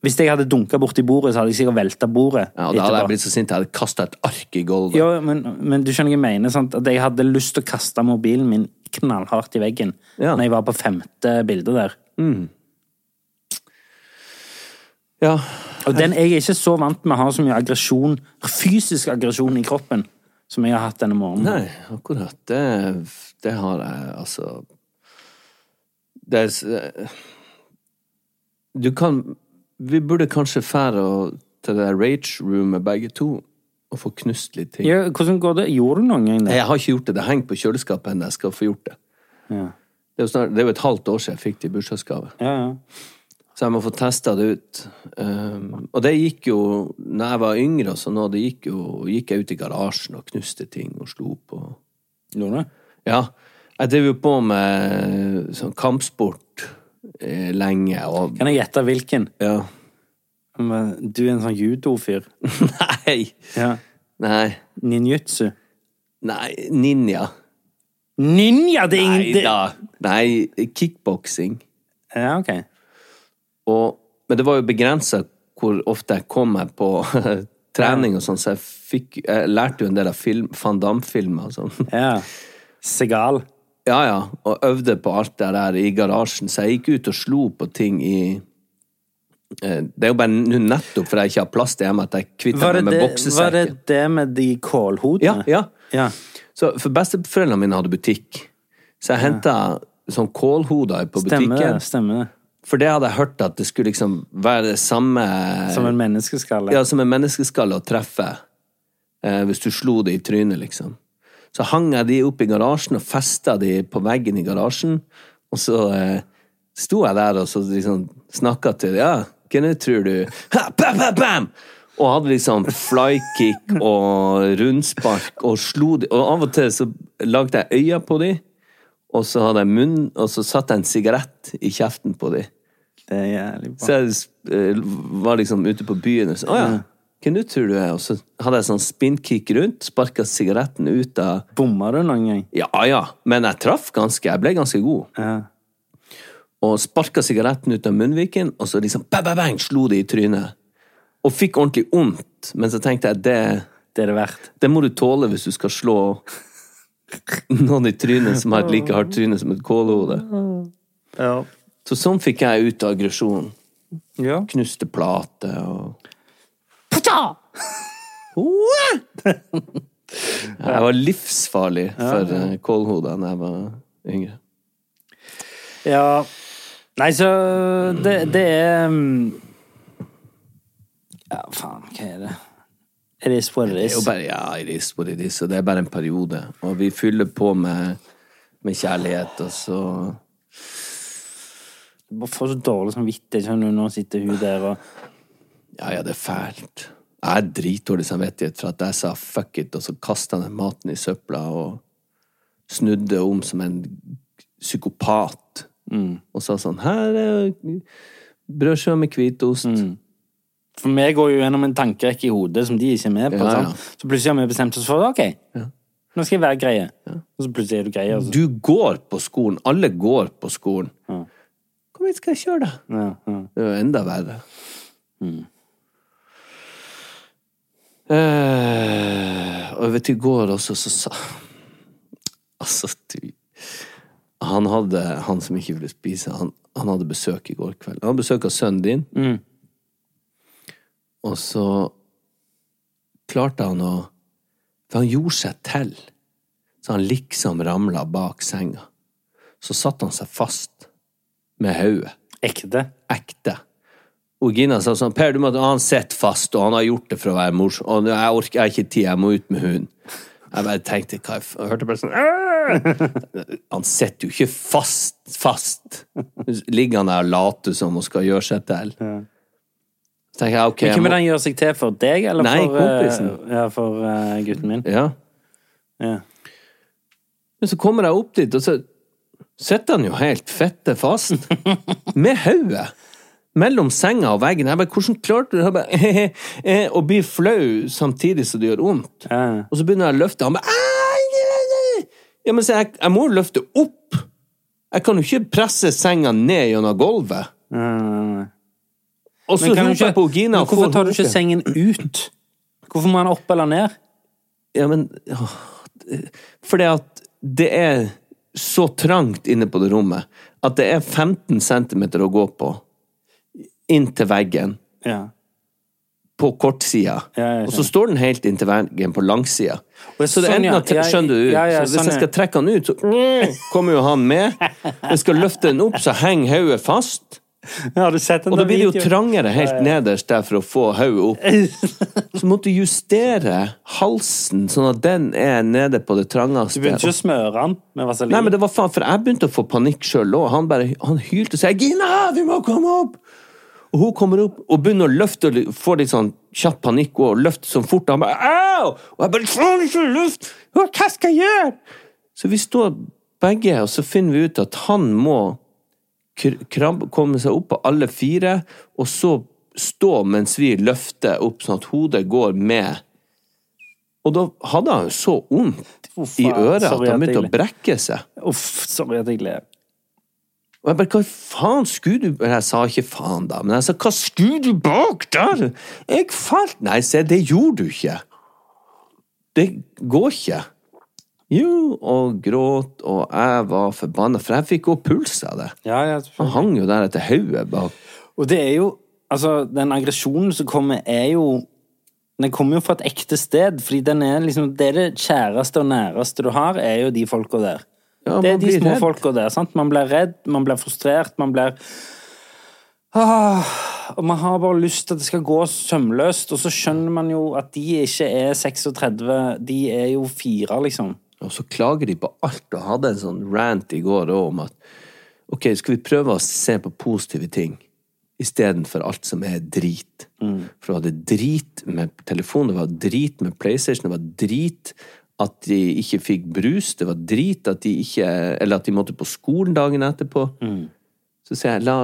Speaker 2: Hvis jeg hadde dunka borti bordet, så hadde jeg sikkert velta bordet.
Speaker 3: Ja, og da hadde
Speaker 2: etterpå.
Speaker 3: jeg blitt så sint jeg hadde kasta et ark i gulvet.
Speaker 2: Jo, men, men du skjønner hva jeg mener. Sant? At jeg hadde lyst til å kaste mobilen min knallhardt i veggen
Speaker 3: Ja.
Speaker 2: når jeg var på femte bilde der.
Speaker 3: Ja.
Speaker 2: Og den, jeg er ikke så vant med å ha så mye aggresjon, fysisk aggresjon i kroppen som jeg har hatt denne morgenen.
Speaker 3: Nei, akkurat. Det, det har jeg, altså Det er s- Du kan Vi burde kanskje fære og- til det rage-roomet begge to og få knust litt ting.
Speaker 2: Ja, hvordan går det? Gjorde du noen
Speaker 3: Nei,
Speaker 2: gang det?
Speaker 3: Jeg har ikke gjort det. Det henger på kjøleskapet ennå. Jeg skal få gjort det. Det er jo snart- det er jo et halvt år siden jeg fikk det i bursdagsgave.
Speaker 2: Ja, ja.
Speaker 3: Så jeg må få testa det ut. Um, og det gikk jo når jeg var yngre, og sånn, og det gikk jo gikk jeg ut i garasjen og knuste ting og slo på.
Speaker 2: Gjorde du? det?
Speaker 3: Ja. Jeg drev jo på med sånn kampsport eh, lenge, og
Speaker 2: Kan jeg gjette hvilken?
Speaker 3: ja. <laughs>
Speaker 2: Men Du er en sånn judo-fyr.
Speaker 3: Nei!
Speaker 2: Ja.
Speaker 3: Nei.
Speaker 2: Ninjutsu.
Speaker 3: Nei, ninja.
Speaker 2: Ninja! Det er ingen
Speaker 3: Nei
Speaker 2: det-
Speaker 3: da. Nei, kickboksing.
Speaker 2: Ja, ok.
Speaker 3: Og, men det var jo begrensa hvor ofte jeg kom meg på <laughs> trening og sånn, så jeg, fikk, jeg lærte jo en del av film, Van Damme-filmer og sånn.
Speaker 2: Ja. Segal.
Speaker 3: Ja, ja, og øvde på alt det der i garasjen, så jeg gikk ut og slo på ting i eh, Det er jo bare nå nettopp fordi jeg ikke har plass til hjemme at jeg kvitter
Speaker 2: Var det
Speaker 3: meg med
Speaker 2: det, var det
Speaker 3: boksesekken.
Speaker 2: det med de
Speaker 3: Ja,
Speaker 2: kålhodene?
Speaker 3: ja.
Speaker 2: ja.
Speaker 3: Så, for besteforeldrene mine hadde butikk, så jeg henta sånn kålhoder på
Speaker 2: Stemmer det.
Speaker 3: butikken.
Speaker 2: stemmer det.
Speaker 3: For det hadde jeg hørt at det skulle liksom være det samme
Speaker 2: Som en menneskeskalle.
Speaker 3: Eh, Ja, som en menneskeskalle å treffe eh, hvis du slo det i trynet, liksom. Så hang jeg de opp i garasjen og festa de på veggen i garasjen, og så eh, sto jeg der og så liksom snakka til Ja, hva nå tror du? Ha, bam, bam, bam! Og hadde liksom flykick og rundspark og slo de Og av og til så lagde jeg øyne på de, og så hadde jeg munn, og så satte jeg en sigarett i kjeften på de.
Speaker 2: Det er jævlig bra.
Speaker 3: Så jeg eh, var liksom ute på byen og så, Å ja, hvem du tror du er? Og så hadde jeg sånn spinkick rundt, sparka sigaretten ut av
Speaker 2: Bomma du noen gang?
Speaker 3: Ja ja, men jeg traff ganske. Jeg ble ganske god. Og sparka sigaretten ut av munnviken, og så liksom bang, bang, bang, slo det i trynet. Og fikk ordentlig vondt, men så tenkte jeg det,
Speaker 2: Det er det verdt.
Speaker 3: det må du tåle hvis du skal slå noen i trynet som har et like hardt tryne som et kålhode.
Speaker 2: Ja.
Speaker 3: Så sånn fikk jeg ut av aggresjonen.
Speaker 2: ja.
Speaker 3: Knuste plater og Hua! Jeg var livsfarlig for eh, kålhoder da jeg var yngre.
Speaker 2: Ja. Nei, så det, det er mm, Ja, faen, hva er det? It is what it
Speaker 3: Det er jo
Speaker 2: is.
Speaker 3: bare ja, it is what it is, og det er bare en periode. Og vi fyller på med, med kjærlighet, og så
Speaker 2: Jeg får så dårlig samvittighet skjønner du, nå sitter hun der og
Speaker 3: Ja, ja, det er fælt. Jeg har dritdårlig samvittighet for at jeg sa fuck it, og så kasta jeg den maten i søpla og snudde om som en psykopat. Og sa sånn Her er brødskiva med hvitost.
Speaker 2: For vi går jo gjennom en tankerekke i hodet som de ikke er med på.
Speaker 3: Ja, ja.
Speaker 2: sant? Så plutselig har vi bestemt oss for OK, nå skal jeg være greie. Og så plutselig er du greie. Altså.
Speaker 3: Du går på skolen. Alle går på skolen. Kom hit, skal jeg kjøre deg.
Speaker 2: Ja, ja.
Speaker 3: Det er jo enda verre. Eh, og jeg vet i går også, så sa Altså, du Han hadde, han som ikke ville spise, han, han hadde besøk i går kveld. Han hadde besøk av sønnen din. Og så klarte han å For han gjorde seg til. Så han liksom ramla bak senga. Så satte han seg fast med hodet
Speaker 2: Ekte.
Speaker 3: ekte. Og Gina sa sånn, Per, du må, han sitter fast, og han har gjort det for å være morsom, og nå- jeg orker, jeg har ikke tid, jeg må ut med hunden. Jeg bare tenkte, hva jeg f- jeg hørte bare sånn, «Åh!» han sitter jo ikke fast, fast. Ligger han der og later som og skal gjøre seg til. Så tenker jeg, ok,
Speaker 2: Men
Speaker 3: jeg
Speaker 2: hvem
Speaker 3: må,
Speaker 2: vil han gjøre seg til for? Deg eller
Speaker 3: Nei,
Speaker 2: for, eh,
Speaker 3: kompisen.
Speaker 2: ja, for eh, gutten min?
Speaker 3: ja.
Speaker 2: Ja.
Speaker 3: Men så kommer jeg opp dit, og så sitter han jo helt fette fast. Med hodet. Mellom senga og veggen. Jeg bare, hvordan klarte du det? Jeg bare, <laughs> eh, og blir flau samtidig som det gjør vondt. Og så begynner jeg å løfte. Han bare «Ai, ai, ai!» Ja, men se, jeg, jeg må jo løfte opp. Jeg kan jo ikke presse senga ned gjennom gulvet. Og så
Speaker 2: Men Eh, kan du
Speaker 3: roper
Speaker 2: ikke,
Speaker 3: jeg på Gina.
Speaker 2: men
Speaker 3: og
Speaker 2: hvorfor
Speaker 3: får
Speaker 2: tar du ikke
Speaker 3: hodet.
Speaker 2: sengen ut? Hvorfor må han opp eller ned?
Speaker 3: Ja, men åh, det- Fordi at det er så trangt inne på det rommet at det er 15 cm å gå på inn til veggen
Speaker 2: Ja.
Speaker 3: på kortsida,
Speaker 2: Ja, ja,
Speaker 3: og så står den helt inntil veggen på langsida.
Speaker 2: Og
Speaker 3: Så det
Speaker 2: sånn,
Speaker 3: ender
Speaker 2: ja.
Speaker 3: at tre-
Speaker 2: Ja,
Speaker 3: skjønner du,
Speaker 2: ja,
Speaker 3: så
Speaker 2: ja,
Speaker 3: hvis
Speaker 2: sånn,
Speaker 3: jeg skal trekke han ut, så mm, kommer jo han med. Hvis jeg skal løfte den opp, så henger hodet fast.
Speaker 2: Ja, <laughs> har du sett
Speaker 3: Og
Speaker 2: den
Speaker 3: da
Speaker 2: der
Speaker 3: blir det jo
Speaker 2: videoen?
Speaker 3: trangere helt nederst der for å få hodet opp. Så måtte du justere halsen, sånn at den er nede på det
Speaker 2: Du
Speaker 3: trangeste.
Speaker 2: <laughs> begynte ikke å smøre den med vaselin?
Speaker 3: Nei, men det var faen, for jeg begynte å få panikk sjøl òg. Han bare, han hylte og sa 'Gina, vi må komme opp!' Og hun kommer opp og begynner å løfte og li- får litt sånn kjapp panikk og løfter sånn fort. Og han bare 'au!' Og jeg bare 'faen, ikke luft! Hva hva skal jeg gjøre?' Så vi står begge, og så finner vi ut at han må kr- krab, komme seg opp på alle fire, og så stå mens vi løfter opp, sånn at hodet går med. Og da hadde han jo så vondt
Speaker 2: Å,
Speaker 3: i
Speaker 2: faen,
Speaker 3: øret at
Speaker 2: sorry
Speaker 3: han
Speaker 2: at jeg
Speaker 3: begynte å
Speaker 2: le.
Speaker 3: brekke seg.
Speaker 2: Uff, sorry at jeg ler.
Speaker 3: Og jeg bare, hva faen skulle du Jeg sa ikke faen, da, men jeg sa hva skulle du bak der? Jeg falt Nei, se, det gjorde du ikke. Det går ikke. Jo, og gråt, og jeg var forbanna, for jeg fikk også puls av det.
Speaker 2: Ja, ja,
Speaker 3: Han hang jo der etter hodet bak.
Speaker 2: Og det er jo Altså, den aggresjonen som kommer, er jo Den kommer jo fra et ekte sted, fordi den er liksom Det er det kjæreste og næreste du har, er jo de folka der.
Speaker 3: Ja,
Speaker 2: det
Speaker 3: man
Speaker 2: er de
Speaker 3: blir
Speaker 2: små
Speaker 3: redd.
Speaker 2: folka der. sant? Man blir redd, man blir frustrert, man blir ah, Og man har bare lyst til at det skal gå sømløst, og så skjønner man jo at de ikke er 36, de er jo fire, liksom.
Speaker 3: Og så klager de på alt, og hadde en sånn rant i går også om at ok, skal vi prøve å se på positive ting istedenfor alt som er drit.
Speaker 2: Mm.
Speaker 3: For det var drit med telefon, det var drit med PlayStation, det var drit at de ikke fikk brus, det var drit at de ikke Eller at de måtte på skolen dagen etterpå.
Speaker 2: Mm.
Speaker 3: Så sier jeg la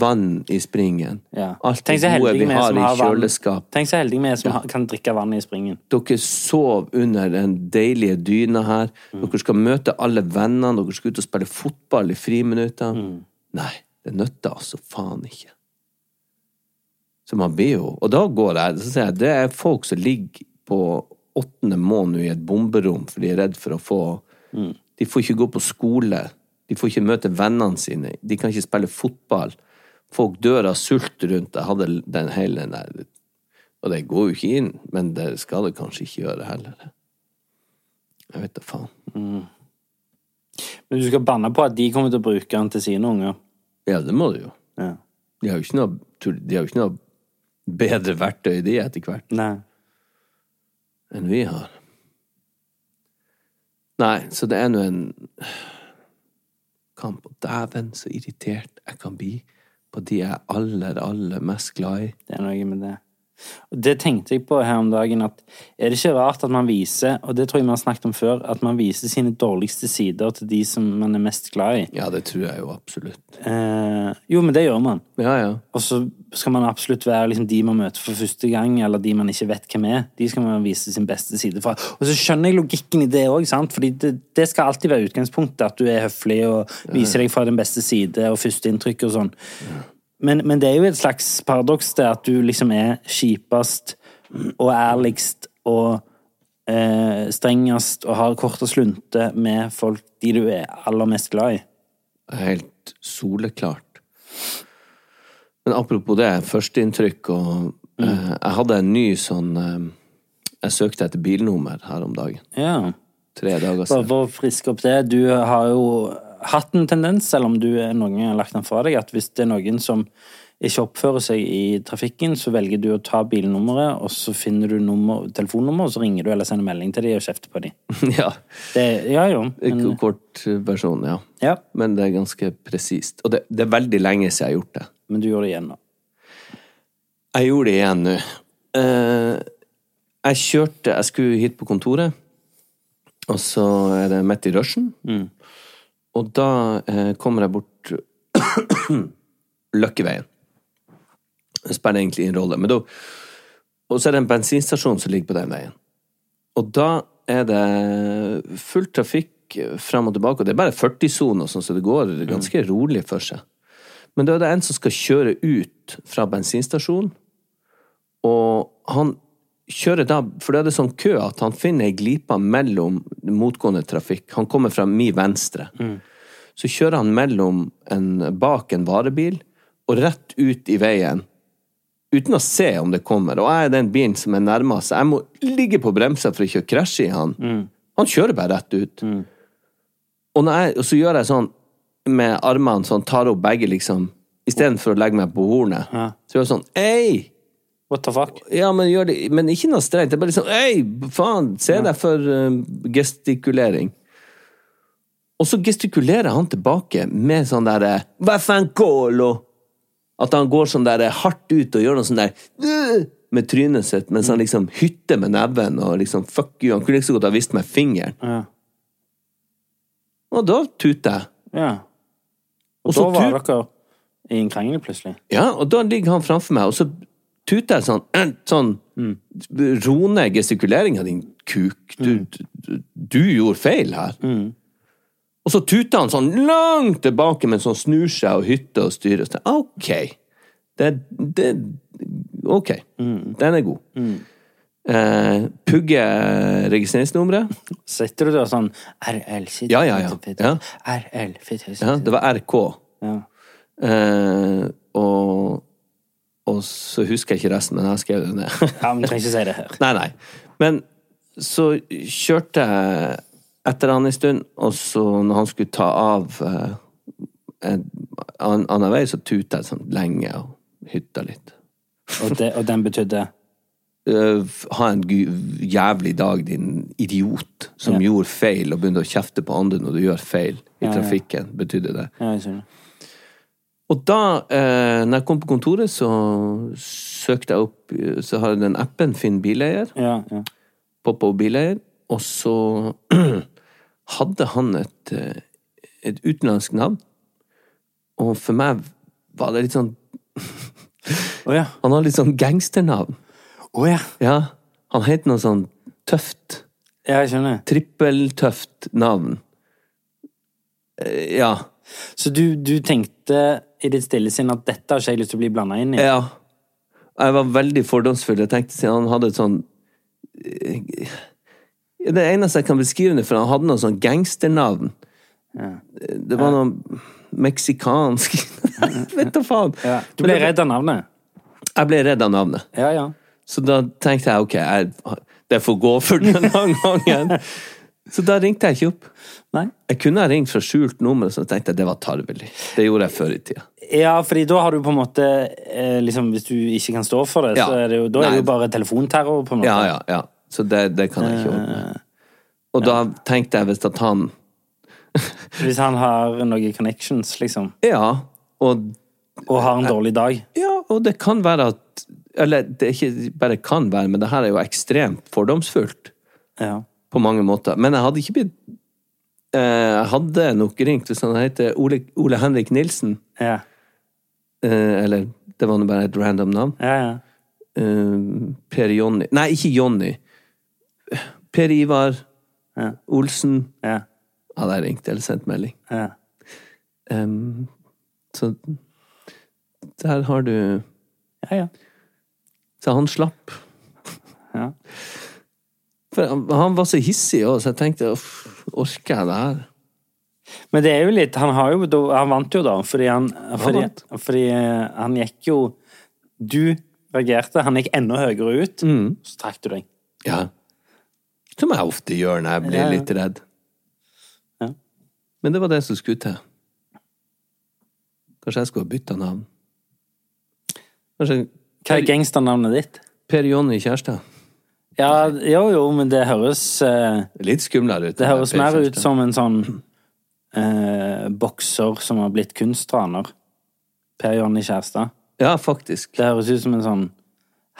Speaker 3: vann i springen.
Speaker 2: Ja.
Speaker 3: Alt
Speaker 2: Tenk
Speaker 3: det
Speaker 2: så
Speaker 3: gode
Speaker 2: heldige
Speaker 3: vi
Speaker 2: vi er
Speaker 3: har
Speaker 2: som
Speaker 3: i
Speaker 2: har vann.
Speaker 3: kjøleskap
Speaker 2: Tenk så heldige vi er som har- kan drikke vann i springen.
Speaker 3: dere sov under den deilige dyna her. Dere skal møte alle vennene, dere skal ut og spille fotball i friminuttene. Nei, det nytter altså faen ikke. Så man blir jo Og da går jeg så sier jeg, Det er folk som ligger på åttende måned i et bomberom, for de er redd for å få De får ikke gå på skole. De får ikke møte vennene sine. De kan ikke spille fotball. Folk dør av sult rundt. Jeg hadde den hele den der Og det går jo ikke inn, men det skal det kanskje ikke gjøre heller. Jeg vet da faen.
Speaker 2: Men du skal banne på at de kommer til å bruke den til sine unger.
Speaker 3: Ja, det må det jo.
Speaker 2: Ja.
Speaker 3: De har jo ikke noe, tull- de har jo ikke noe bedre verktøy, de, etter hvert.
Speaker 2: Nei.
Speaker 3: enn vi har. Nei, så det er nå en kamp. Og dæven, så irritert jeg kan bli på de jeg er aller, aller mest glad i.
Speaker 2: Det er noe med det. Og det tenkte jeg på her om dagen, at er det ikke rart at man viser, og det tror jeg vi har snakket om før, at man viser sine dårligste sider til de som man er mest glad i?
Speaker 3: Ja, det tror jeg jo absolutt.
Speaker 2: Eh, jo, men det gjør man.
Speaker 3: Ja, ja.
Speaker 2: Og så skal man absolutt være liksom de man møter for første gang, eller de man ikke vet hvem er. De skal man vise sin beste side fra. Og så skjønner jeg logikken i det òg, fordi det, det skal alltid være utgangspunktet, at du er høflig og viser deg fra din beste side og førsteinntrykk og sånn. Men, men det er jo et slags paradoks det at du liksom er kjipest og ærligst og eh, strengest og har kort og slunte med folk de du er aller mest glad i.
Speaker 3: Helt soleklart. Men apropos det, førsteinntrykk og
Speaker 2: Mm.
Speaker 3: eh, Jeg hadde en ny sånn eh, Jeg søkte etter bilnummer her om dagen.
Speaker 2: Ja.
Speaker 3: Tre dager
Speaker 2: Bare
Speaker 3: siden.
Speaker 2: for å friske opp det, du har jo hatt en tendens, selv om du er noen har lagt den fra deg, at hvis det er noen som ikke oppfører seg i trafikken, så velger du å ta bilnummeret, og så finner du nummer, telefonnummer, og så ringer du eller sender melding til dem og kjefter på dem.
Speaker 3: <laughs> ja.
Speaker 2: Det, ja jo. Men,
Speaker 3: K- Kort versjon, ja.
Speaker 2: ja,
Speaker 3: Men det er ganske presist. Og det, det er veldig lenge siden jeg har gjort det.
Speaker 2: men du gjør det igjen nå.
Speaker 3: Jeg gjorde det igjen nå. Eh, jeg kjørte Jeg skulle hit på kontoret, og så er det midt i rushen. Og da eh, kommer jeg bort <coughs> Løkkeveien. Det spiller egentlig ingen rolle. Men da, og så er det en bensinstasjon som ligger på den veien. Og da er det full trafikk fram og tilbake, og det er bare 40-sone, og sånn, så det går ganske rolig for seg. Men da er det en som skal kjøre ut fra bensinstasjonen, og han kjører da For da er det sånn kø at han finner ei glipe mellom motgående trafikk. Han kommer fra min venstre. Så kjører han mellom en, bak en varebil og rett ut i veien. Uten å se om det kommer. Og jeg er den bilen som er nærmest. Jeg må ligge på bremsa for ikke å krasje i han. Han kjører bare rett ut. Og, når jeg, og så gjør jeg sånn med armene, sånn tar opp begge, liksom. Istedenfor å legge meg på hornet. Så gjør jeg sånn Ei!
Speaker 2: What the fuck?
Speaker 3: Ja, men gjør det Men ikke noe strengt. Det er bare sånn Ei, faen! Se deg for eh, gestikulering. Og så gestikulerer han tilbake med sånn derre Hva faen, kolo? At han går sånn der eh, hardt ut og gjør noe sånn der «Øh!» med trynet sitt, mens
Speaker 2: Mm.
Speaker 3: han liksom hytter med nebben og liksom fuck you. Han kunne ikke så godt ha vist meg fingeren.
Speaker 2: Ja.
Speaker 3: Og da tuter jeg.
Speaker 2: ja. Og,
Speaker 3: Og så
Speaker 2: da var
Speaker 3: tur-
Speaker 2: dere i en krangel plutselig.
Speaker 3: Ja, og da ligger han framfor meg, og så tuter jeg sånn eh, Sånn Ro ned gestikuleringa, din kuk. Du, du, du gjorde feil her. Og så tuter han sånn langt tilbake mens han snur seg og hytter og styrer. Og så, ok. Det, det Ok. Den er god. Eh, Pugge registreringsnummeret.
Speaker 2: Sitter du der sånn RL sitter
Speaker 3: Ja, ja, ja. Ja.
Speaker 2: RL sitter-
Speaker 3: Ja, det var RK.
Speaker 2: Ja.
Speaker 3: Eh, og, og så husker jeg ikke resten, men jeg skrev det ned. <laughs>
Speaker 2: Ja, men du trenger ikke si det her.
Speaker 3: Nei, nei. Men så kjørte jeg etter han en stund, og så når han skulle ta av eh, en an- annen vei, så tuta jeg sånn lenge og hytta litt.
Speaker 2: Og, det, og den betydde
Speaker 3: Eh, f- ha en gu- jævlig dag, din idiot som gjorde feil, og begynte å kjefte på andre når du gjør feil i trafikken, betydde det.
Speaker 2: Ja, jeg skjønner.
Speaker 3: Og da, eh, når jeg kom på kontoret, så søkte jeg opp eh, Så har jeg den appen Finn bileier.
Speaker 2: Ja, ja.
Speaker 3: poppa opp bileier, og så <clears throat> hadde han et, eh, et utenlandsk navn. Og for meg var det litt sånn
Speaker 2: Å ja.
Speaker 3: Han har litt sånn gangsternavn.
Speaker 2: Å ja.
Speaker 3: Ja, han het noe sånn tøft.
Speaker 2: Ja, jeg skjønner.
Speaker 3: Trippeltøft navn. Eh, Ja.
Speaker 2: Så du, du tenkte i ditt stille sinn at dette har ikke jeg lyst til å bli blanda inn i?
Speaker 3: Ja. Jeg var veldig fordomsfull. Jeg tenkte siden han hadde et sånn eh, Det eneste jeg kan beskrive det for, han hadde noe sånn gangsternavn. Det var noe meksikansk <laughs> Vet da faen.
Speaker 2: Ja. Du ble redd av navnet?
Speaker 3: Jeg ble redd av navnet.
Speaker 2: Ja, ja.
Speaker 3: Så da tenkte jeg ok, jeg, det får gå for denne gangen. Så da ringte jeg ikke opp.
Speaker 2: Nei?
Speaker 3: Jeg kunne ha ringt fra skjult nummer, så tenkte jeg det var tarvelig. Det gjorde jeg før i tida.
Speaker 2: Ja, fordi da har du på en måte eh, liksom, Hvis du ikke kan stå for det,
Speaker 3: Ja.
Speaker 2: så er det jo, da er
Speaker 3: Nei.
Speaker 2: det jo bare telefonterror, på en måte. Eh,
Speaker 3: Ja, ja, ja. Så det, det kan jeg ikke ordne. Og da tenkte jeg hvis at han
Speaker 2: Hvis han har noen connections, liksom,
Speaker 3: Ja, og
Speaker 2: og har en dårlig dag.
Speaker 3: Ja, og det kan være at Eller det er ikke bare kan være, men det her er jo ekstremt fordomsfullt
Speaker 2: Ja.
Speaker 3: på mange måter. Men jeg hadde ikke blitt eh, Jeg hadde nok ringt hvis han heter Ole, Ole Henrik Nilsen.
Speaker 2: Ja,
Speaker 3: eh, Eller det var nå bare et random navn.
Speaker 2: ja. ja.
Speaker 3: Eh, Per Jonny Nei, ikke Jonny. Per Ivar
Speaker 2: Ja.
Speaker 3: Olsen
Speaker 2: ja.
Speaker 3: hadde jeg ringt eller sendt melding.
Speaker 2: ja.
Speaker 3: Em, så der har du
Speaker 2: Ja, ja.
Speaker 3: Så han slapp.
Speaker 2: Ja.
Speaker 3: For han, han var så hissig òg, så jeg tenkte uff, orker jeg det her?
Speaker 2: Men det er jo litt Han, har jo, da- han vant jo, da, fordi han fordi,
Speaker 3: vant.
Speaker 2: fordi eh, han gikk jo Du reagerte, han gikk enda høyere ut, så trakk du deg.
Speaker 3: Ja. Som jeg ofte gjør når jeg blir
Speaker 2: Ja, ja.
Speaker 3: litt redd.
Speaker 2: Ja.
Speaker 3: Men det var det som skulle til. Kanskje jeg skulle ha bytta navn. Kanskje
Speaker 2: Hva er gangsternavnet ditt?
Speaker 3: Per Jonny Kjærstad.
Speaker 2: Ja, jo, jo, men det høres eh,
Speaker 3: Litt skumlere ut.
Speaker 2: Det høres
Speaker 3: enn
Speaker 2: mer
Speaker 3: Per
Speaker 2: ut
Speaker 3: Kjærstad.
Speaker 2: som en sånn eh, bokser som har blitt kunstraner. Per Jonny Kjærstad.
Speaker 3: Ja, faktisk.
Speaker 2: Det høres ut som en sånn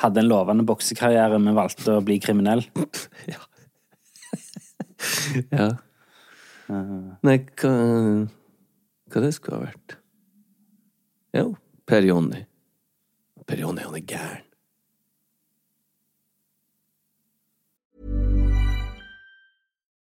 Speaker 2: Hadde en lovende boksekarriere, men valgte å bli kriminell.
Speaker 3: Ja. Nei, hva Hva det skulle ha vært? Jo, Per Jonny. Per Jonny, han er gæren.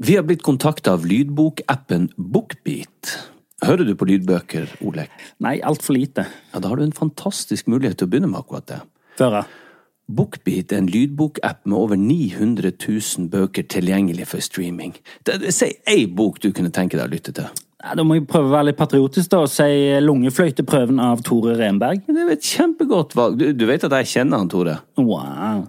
Speaker 3: Vi har blitt kontakta av lydbokappen Bookbeat. Hører du på lydbøker, Olek?
Speaker 2: Nei, altfor lite.
Speaker 3: Ja, da har du en fantastisk mulighet til å begynne med akkurat det.
Speaker 2: Før, ja.
Speaker 3: Bookbeat er en lydbokapp med over 900 000 bøker tilgjengelig for streaming. Det, det, si ei bok du kunne tenke deg å lytte til.
Speaker 2: Nei, Da må jeg prøve å være litt patriotisk da, og si eh, Lungefløyteprøven av Tore Renberg.
Speaker 3: Det er jo et kjempegodt valg. Du, du vet at jeg kjenner han, Tore?
Speaker 2: Wow.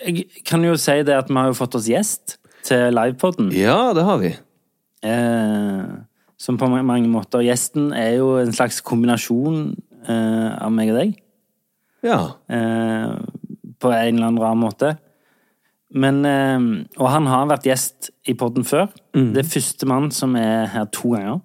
Speaker 2: Jeg kan jo si det at vi har jo fått oss gjest til livepoden.
Speaker 3: Ja, det har vi.
Speaker 2: Eh, som på ma- mange måter Gjesten er jo en slags kombinasjon eh, av meg og deg.
Speaker 3: Ja.
Speaker 2: eh, på en eller annen rar måte. Men, eh, og han har vært gjest i podden før.
Speaker 3: Mm.
Speaker 2: Det er førstemann som er her to ganger.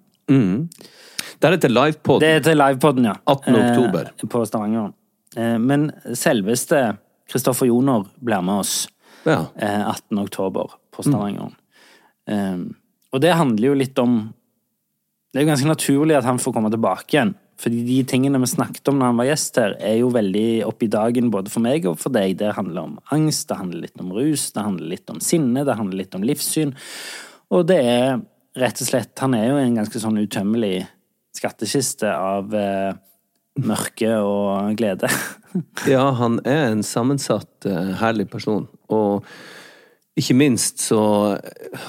Speaker 3: Deretter livepod.
Speaker 2: Det er til livepodden, ja.
Speaker 3: 18. oktober.
Speaker 2: Eh, på Stavanger. Eh, men selveste Kristoffer Joner blir med oss
Speaker 3: Ja.
Speaker 2: eh, 18. oktober på Stavanger. Eh, og det handler jo litt om Det er jo ganske naturlig at han får komme tilbake igjen. Fordi de tingene vi snakket om når han var gjest her, er jo veldig opp i dagen både for meg og for deg. Det handler om angst, det handler litt om rus, det handler litt om sinne, det handler litt om livssyn. Og det er rett og slett Han er jo en ganske sånn utømmelig skattkiste av eh, mørke og glede.
Speaker 3: ja, han er en sammensatt, eh, herlig person. Og ikke minst så eh,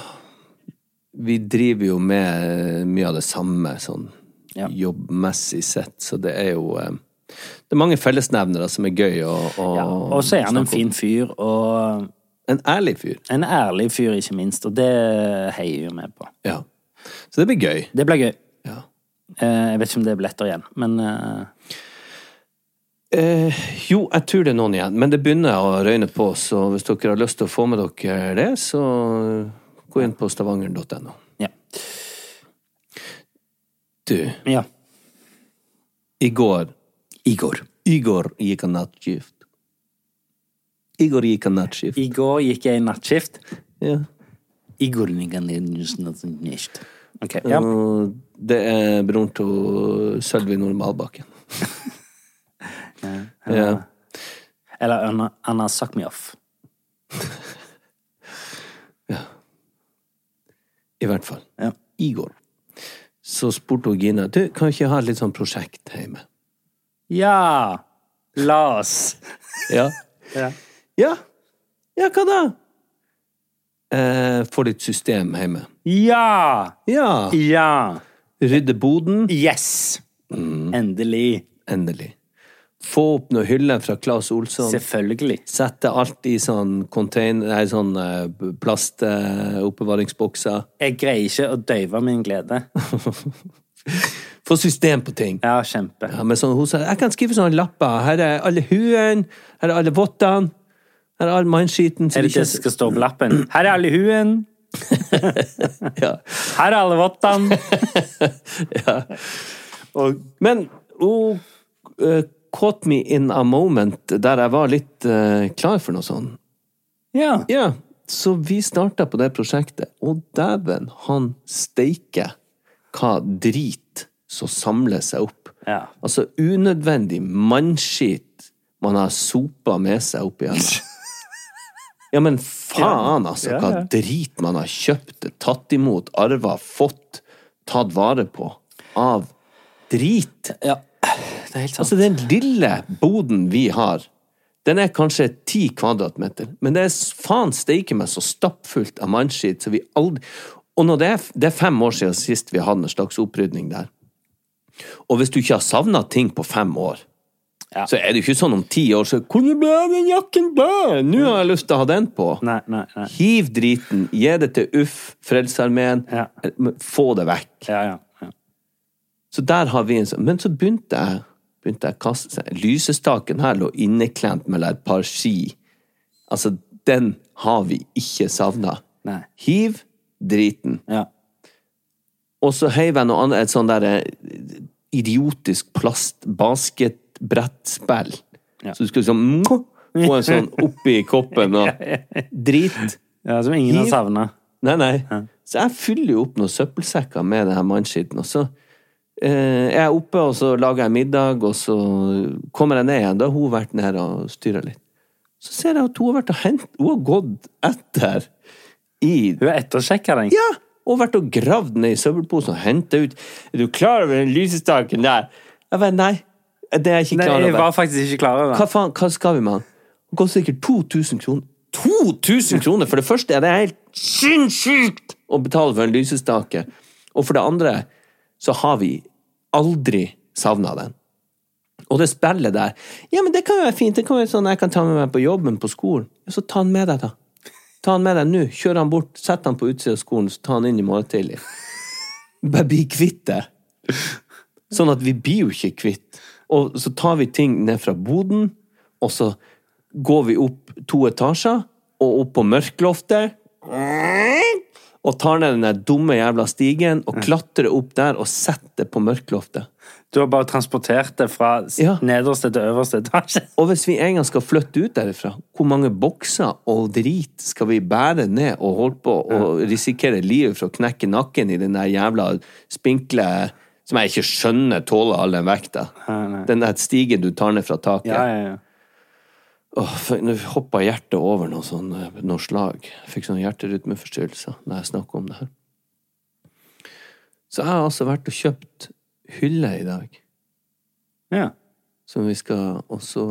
Speaker 3: Vi driver jo med eh, mye av det samme, sånn
Speaker 2: Ja.
Speaker 3: jobbmessig sett, så det er jo eh, Det er mange fellesnevnere som er gøy å, å
Speaker 2: Ja, <laughs> og så er han en
Speaker 3: snakke om.
Speaker 2: fin fyr, og
Speaker 3: En ærlig fyr.
Speaker 2: En ærlig fyr, ikke minst, og det heier jo vi på.
Speaker 3: Ja. Så det blir gøy.
Speaker 2: Det blir gøy.
Speaker 3: Ja.
Speaker 2: Eh, Jeg vet ikke om det blir lettere igjen, men eh,
Speaker 3: Eh, jo, jeg tror det er noen igjen, men det begynner å røyne på, så hvis dere har lyst til å få med dere det, så gå inn på stavanger.no.
Speaker 2: ja.
Speaker 3: Du,
Speaker 2: ja.
Speaker 3: i går Igor. Igor gikk av nattskift. Igor gikk av nattskift.
Speaker 2: I går gikk jeg i nattskift.
Speaker 3: Ja.
Speaker 2: I går gikk jeg i nattskift. Ok, ja.
Speaker 3: Og det er broren til Sølvi Normalbakken. <laughs> ja.
Speaker 2: Eller Anna, Anna Sakmioff.
Speaker 3: I hvert fall.
Speaker 2: Ja.
Speaker 3: Igor. Så spurte hun Gina du, kan ikke jeg ha et litt sånn prosjekt hjemme.
Speaker 2: Ja! La oss.
Speaker 3: Ja.
Speaker 2: Ja.
Speaker 3: Ja. Ja, hva da? Eh, få litt system hjemme.
Speaker 2: Ja!
Speaker 3: Ja.
Speaker 2: Ja!
Speaker 3: Rydde boden.
Speaker 2: Yes! Mm. Endelig.
Speaker 3: Endelig. Få opp noen hyller fra Claes
Speaker 2: Sånn.
Speaker 3: Olsson.
Speaker 2: Selvfølgelig.
Speaker 3: Sette alt i sånn container, nei, sånn plastoppbevaringsbokser. <laughs>
Speaker 2: Jeg greier ikke å døyve min glede.
Speaker 3: Få system på ting.
Speaker 2: Ja, kjempe.
Speaker 3: Ja, men sånn, hun sa jeg kan skrive sånne lapper. Her er alle huene, her er alle vottene, her er all mannskiten. så
Speaker 2: Er det
Speaker 3: vi
Speaker 2: det som
Speaker 3: ikke-
Speaker 2: skal stå på lappen? Her er alle huen.
Speaker 3: Ja.
Speaker 2: Her er alle vottene.
Speaker 3: Men hun eh, caught me in a moment der jeg var litt eh, klar for noe sånt.
Speaker 2: Ja.
Speaker 3: Ja, så vi starta på det prosjektet, og dæven, han steike hva drit som samler seg opp.
Speaker 2: Ja.
Speaker 3: Altså unødvendig mannskit man har sopa med seg opp igjen.
Speaker 2: <laughs>
Speaker 3: Ja, men faen, altså,
Speaker 2: Ja, ja.
Speaker 3: hva drit man har kjøpt, tatt imot, arva, fått, tatt vare på av drit.
Speaker 2: Det er helt sant.
Speaker 3: Altså, den lille boden vi har, den er kanskje ti kvadratmeter, men det er s- faen steike meg så stappfullt av mannskitt, så vi aldri Og når det er, f- det er fem år siden sist vi hadde en slags opprydning der. Og hvis du ikke har savna ting på fem år, så er det jo ikke sånn om ti år så Hvor ble av den jakken der? Nå har jeg lyst til å ha den på.
Speaker 2: Nei, nei, nei.
Speaker 3: Hiv driten, gi det til UFF, Frelsesarmeen, eh,
Speaker 2: Ja.
Speaker 3: få det vekk.
Speaker 2: Ja, ja. ja.
Speaker 3: Så der har vi en sånn. Men så begynte jeg begynte jeg å kaste seg. Lysestaken her lå inneklemt med et par ski. Altså, den har vi ikke savna.
Speaker 2: Nei.
Speaker 3: Hiv driten.
Speaker 2: ja.
Speaker 3: Og så heiv jeg noe annet, et sånn derre idiotisk plastbasketbrettspill. Så du skulle sånn mwah, <laughs> få en sånn oppi
Speaker 2: <laughs>
Speaker 3: koppen og <laughs> Drit.
Speaker 2: ja som ingen har savna.
Speaker 3: Nei, nei. Så jeg fyller jo opp noen søppelsekker med denne mannskitten, og så eh, er jeg oppe, og så lager jeg middag, og så kommer jeg ned igjen. Da har hun vært nede og styra litt. Så ser jeg at hun har vært og hent... Hun har gått etter i
Speaker 2: Hun har ettersjekka den.
Speaker 3: Ja! Og vært og gravd ned i søppelposen og henta ut Er du klar over den lysestaken der? Jeg bare, nei. Det er jeg ikke
Speaker 2: Nei,
Speaker 3: klar
Speaker 2: jeg
Speaker 3: over.
Speaker 2: var faktisk ikke klar over
Speaker 3: Hva
Speaker 2: den.
Speaker 3: faen, hva skal vi med han? Han koster sikkert 2000 kroner. 2000 kroner! For det første er det helt sinnssykt å betale for en lysestake. Og for det andre så har vi aldri savna den. Og det spillet der Ja, men det kan jo være fint. Det kan være sånn jeg kan ta med meg på jobben, på skolen. Ja, så ta han med deg, da. Ta han med deg nå. Kjør han bort. Sett han på utsida av skolen, så ta han inn i morgen tidlig. Bare bli kvitt det. Sånn at vi blir jo ikke kvitt. Og så tar vi ting ned fra boden, og så går vi opp to etasjer, og opp på mørkloftet. Og tar ned den der dumme jævla stigen, og klatrer opp der og setter på mørkloftet.
Speaker 2: Du har bare transportert det fra s-
Speaker 3: Ja.
Speaker 2: nederste til øverste
Speaker 3: <laughs>
Speaker 2: etasje.
Speaker 3: Og hvis vi en gang skal flytte ut derifra, hvor mange bokser og drit skal vi bære ned og holde på og risikere livet for å knekke nakken i den der jævla spinkle som jeg ikke skjønner tåler all den vekta. Den der stigen du tar ned fra taket.
Speaker 2: Ja, ja, ja.
Speaker 3: Åh, for- Nå hoppa hjertet over noe sånn, eh, noe slag. Jeg fikk sånn hjerterytmeforstyrrelse når jeg snakka om det her. Så jeg har altså vært og kjøpt hyller i dag,
Speaker 2: ja.
Speaker 3: som vi skal også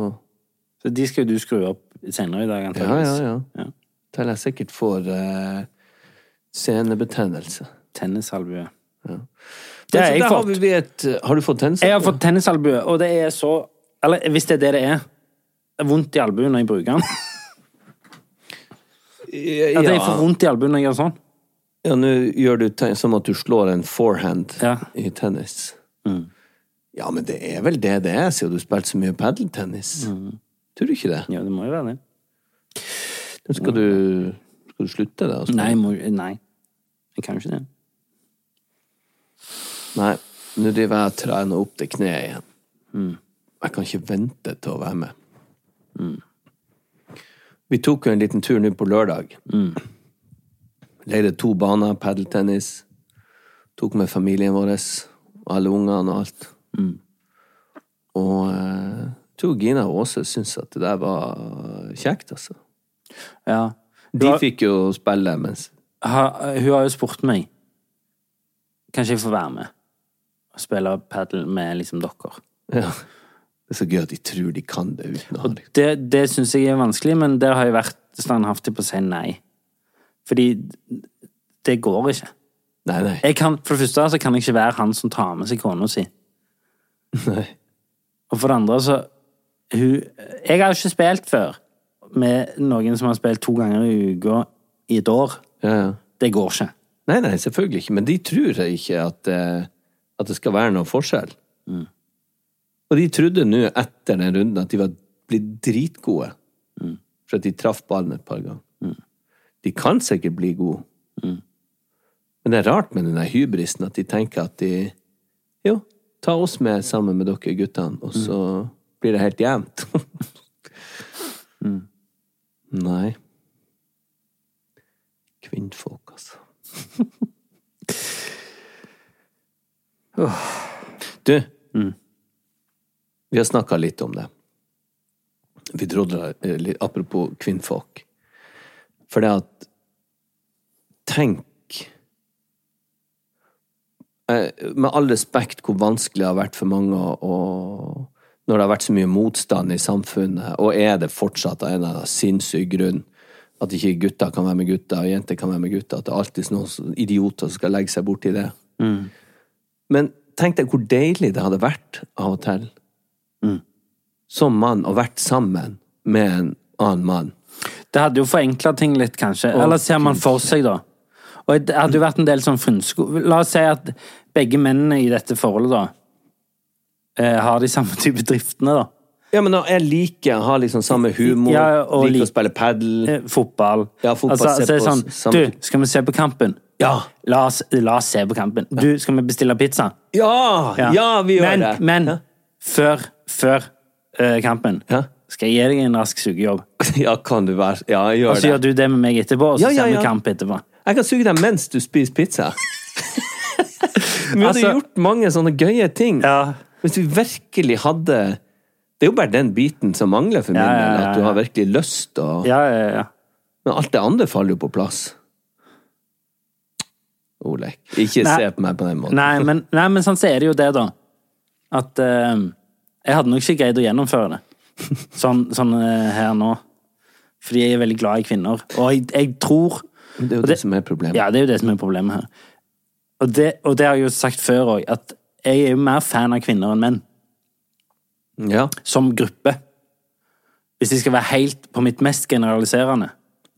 Speaker 2: Så de skal jo du skru opp senere i dag,
Speaker 3: Ja,
Speaker 2: antakeligvis.
Speaker 3: ja, ja. Til jeg sikkert får eh, senebetennelse.
Speaker 2: Tennisalbue.
Speaker 3: Det
Speaker 2: har jeg
Speaker 3: har,
Speaker 2: fått.
Speaker 3: vi blitt et, eh, har du fått tennelse?
Speaker 2: Jeg har fått tennisalbue, og det er så Eller hvis det er det det er. Det er Vondt i albuen når jeg
Speaker 3: <laughs>
Speaker 2: bruker den.
Speaker 3: ja,
Speaker 2: At jeg får vondt i albuen når jeg gjør sånn.
Speaker 3: ja, nå gjør du te- som at du slår en forehand
Speaker 2: Ja.
Speaker 3: i tennis. Ja, men det er vel det det er, siden du spilte så mye padeltennis. Tror du ikke det?
Speaker 2: Ja, det må jo være det.
Speaker 3: Skal du, skal du slutte det? altså?
Speaker 2: Nei, må, nei. jeg kan jo ikke det.
Speaker 3: Nei. Nå driver jeg og trener opp til kneet igjen. Jeg kan ikke vente til å være med. Vi tok jo en liten tur nå på lørdag. Leide to baner, padeltennis. Tok med familien vår, alle ungene og alt. Og eh, jeg tror Gina og Åse syntes at det der var kjekt, altså.
Speaker 2: Ja.
Speaker 3: De fikk jo spille, mens
Speaker 2: har, hun har jo spurt meg Kanskje jeg får være med og spille padel med liksom dere.
Speaker 3: ja. Det er så gøy at de tror de kan det uten å ha det.
Speaker 2: Det, det syns jeg er vanskelig, men der har jeg vært standhaftig på å si nei. Fordi det går ikke.
Speaker 3: Nei, nei.
Speaker 2: Jeg kan, for det første så kan jeg ikke være han som tar med seg kona si.
Speaker 3: <laughs> nei.
Speaker 2: Og for det andre så hun, Jeg har jo ikke spilt før med noen som har spilt to ganger i uka i et år.
Speaker 3: Ja, ja.
Speaker 2: Det går ikke.
Speaker 3: Nei, nei, selvfølgelig ikke. Men de tror ikke at, eh, at det skal være noen forskjell. Og de trodde nå etter den runden at de var blitt dritgode. For at de traff ballen et par ganger. De kan sikkert bli gode. Men det er rart med den der hybrisen at de tenker at de Jo, ta oss med sammen med dere guttene, og så blir det helt jevnt. Nei. Kvinnfolk, altså. Du, vi har snakka litt om det. Vi drodla eh, litt apropos kvinnfolk. For det at Tenk eh, Med all respekt hvor vanskelig det har vært for mange å å- Når det har vært så mye motstand i samfunnet, og er det fortsatt av en eller annen sinnssyk grunn at ikke gutter kan være med gutter, og jenter kan være med gutter, at det er alltid noen som- idioter som skal legge seg borti det. Men tenk deg hvor deilig det hadde vært av og til.
Speaker 2: Mm.
Speaker 3: Som mann, og vært sammen med en annen mann.
Speaker 2: Det hadde jo forenkla ting litt, kanskje. Eller ser man for seg, da. Og det hadde jo vært en del sånn frynsko... La oss si at begge mennene i dette forholdet, da, eh, har de samme type driftene, da.
Speaker 3: Ja, men jeg liker å ha liksom samme humor,
Speaker 2: Ja, og
Speaker 3: liker
Speaker 2: lik-
Speaker 3: å spille padel.
Speaker 2: Eh, fotball.
Speaker 3: Ja, fotball, se
Speaker 2: altså, så er det
Speaker 3: på
Speaker 2: sånn
Speaker 3: sam-
Speaker 2: Du, skal vi se på kampen?
Speaker 3: Ja.
Speaker 2: La oss, la oss se på kampen. Du, skal vi bestille pizza?
Speaker 3: Ja! Ja, vi gjør
Speaker 2: men,
Speaker 3: det!
Speaker 2: Men
Speaker 3: ja.
Speaker 2: før, før eh, kampen
Speaker 3: Ja.
Speaker 2: skal jeg gi deg en rask sugejobb.
Speaker 3: <laughs> ja, kan du være Ja,
Speaker 2: Og
Speaker 3: gjør
Speaker 2: så gjør
Speaker 3: det.
Speaker 2: du det med meg etterpå, og så
Speaker 3: Ja, ja,
Speaker 2: ser
Speaker 3: ja.
Speaker 2: vi kamp etterpå.
Speaker 3: Jeg kan suge deg mens du spiser pizza. vi hadde
Speaker 2: Altså-
Speaker 3: gjort mange sånne gøye ting. Hvis vi virkelig hadde Det er jo bare den biten som mangler for min
Speaker 2: Ja,
Speaker 3: del.
Speaker 2: ja, ja,
Speaker 3: At du har
Speaker 2: ja.
Speaker 3: virkelig lyst og
Speaker 2: Ja, ja, ja.
Speaker 3: Men alt det andre faller jo på plass. Olek, ikke
Speaker 2: Nei.
Speaker 3: se på meg på den måten.
Speaker 2: <laughs> Nei, men, nei, men sånn så er det jo det, da. At eh, jeg hadde nok ikke greid å gjennomføre det. Sånn, sånn eh, her nå. Fordi jeg er veldig glad i kvinner. Og jeg, jeg tror
Speaker 3: Det er jo
Speaker 2: og
Speaker 3: det, som er problemet.
Speaker 2: Ja, det er jo det som er problemet her. Og det, og det har jeg jo sagt før òg, at jeg er jo mer fan av kvinner enn menn.
Speaker 3: Ja.
Speaker 2: som gruppe. Hvis jeg skal være helt på mitt mest generaliserende,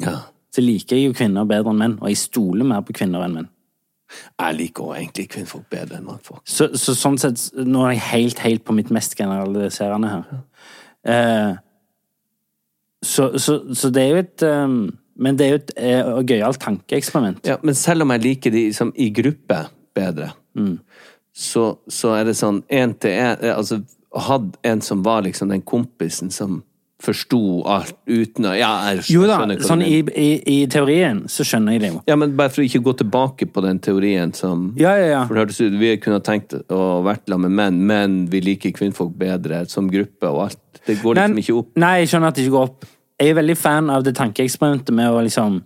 Speaker 3: ja.
Speaker 2: så liker jeg jo kvinner bedre enn menn, og jeg stoler mer på kvinner enn menn.
Speaker 3: Jeg liker også egentlig kvinnfolk bedre enn mannfolk.
Speaker 2: Så, så sånn sett, nå er jeg helt, helt på mitt mest generaliserende her. Eh, så, så, så det er jo et eh, Men det er jo et eh, gøyalt tankeeksperiment.
Speaker 3: Ja, men selv om jeg liker de som i gruppe bedre,
Speaker 2: Mm.
Speaker 3: så, så er det sånn én til én Altså, hadde en som var liksom den kompisen som forsto alt uten å Ja, jeg skjønner,
Speaker 2: Jo da,
Speaker 3: skjønner hva du
Speaker 2: sånn i,
Speaker 3: mener.
Speaker 2: i, i teorien så skjønner jeg det jo.
Speaker 3: Ja, men bare for å ikke gå tilbake på den teorien som
Speaker 2: Ja, ja, ja.
Speaker 3: For det hørtes ut vi kunne ha tenkt å vært sammen med menn, men vi liker kvinnfolk bedre som gruppe og alt. Det går liksom
Speaker 2: Men-
Speaker 3: ikke opp.
Speaker 2: Nei, jeg skjønner at det ikke går opp. Jeg er veldig fan av det tankeeksperimentet med å liksom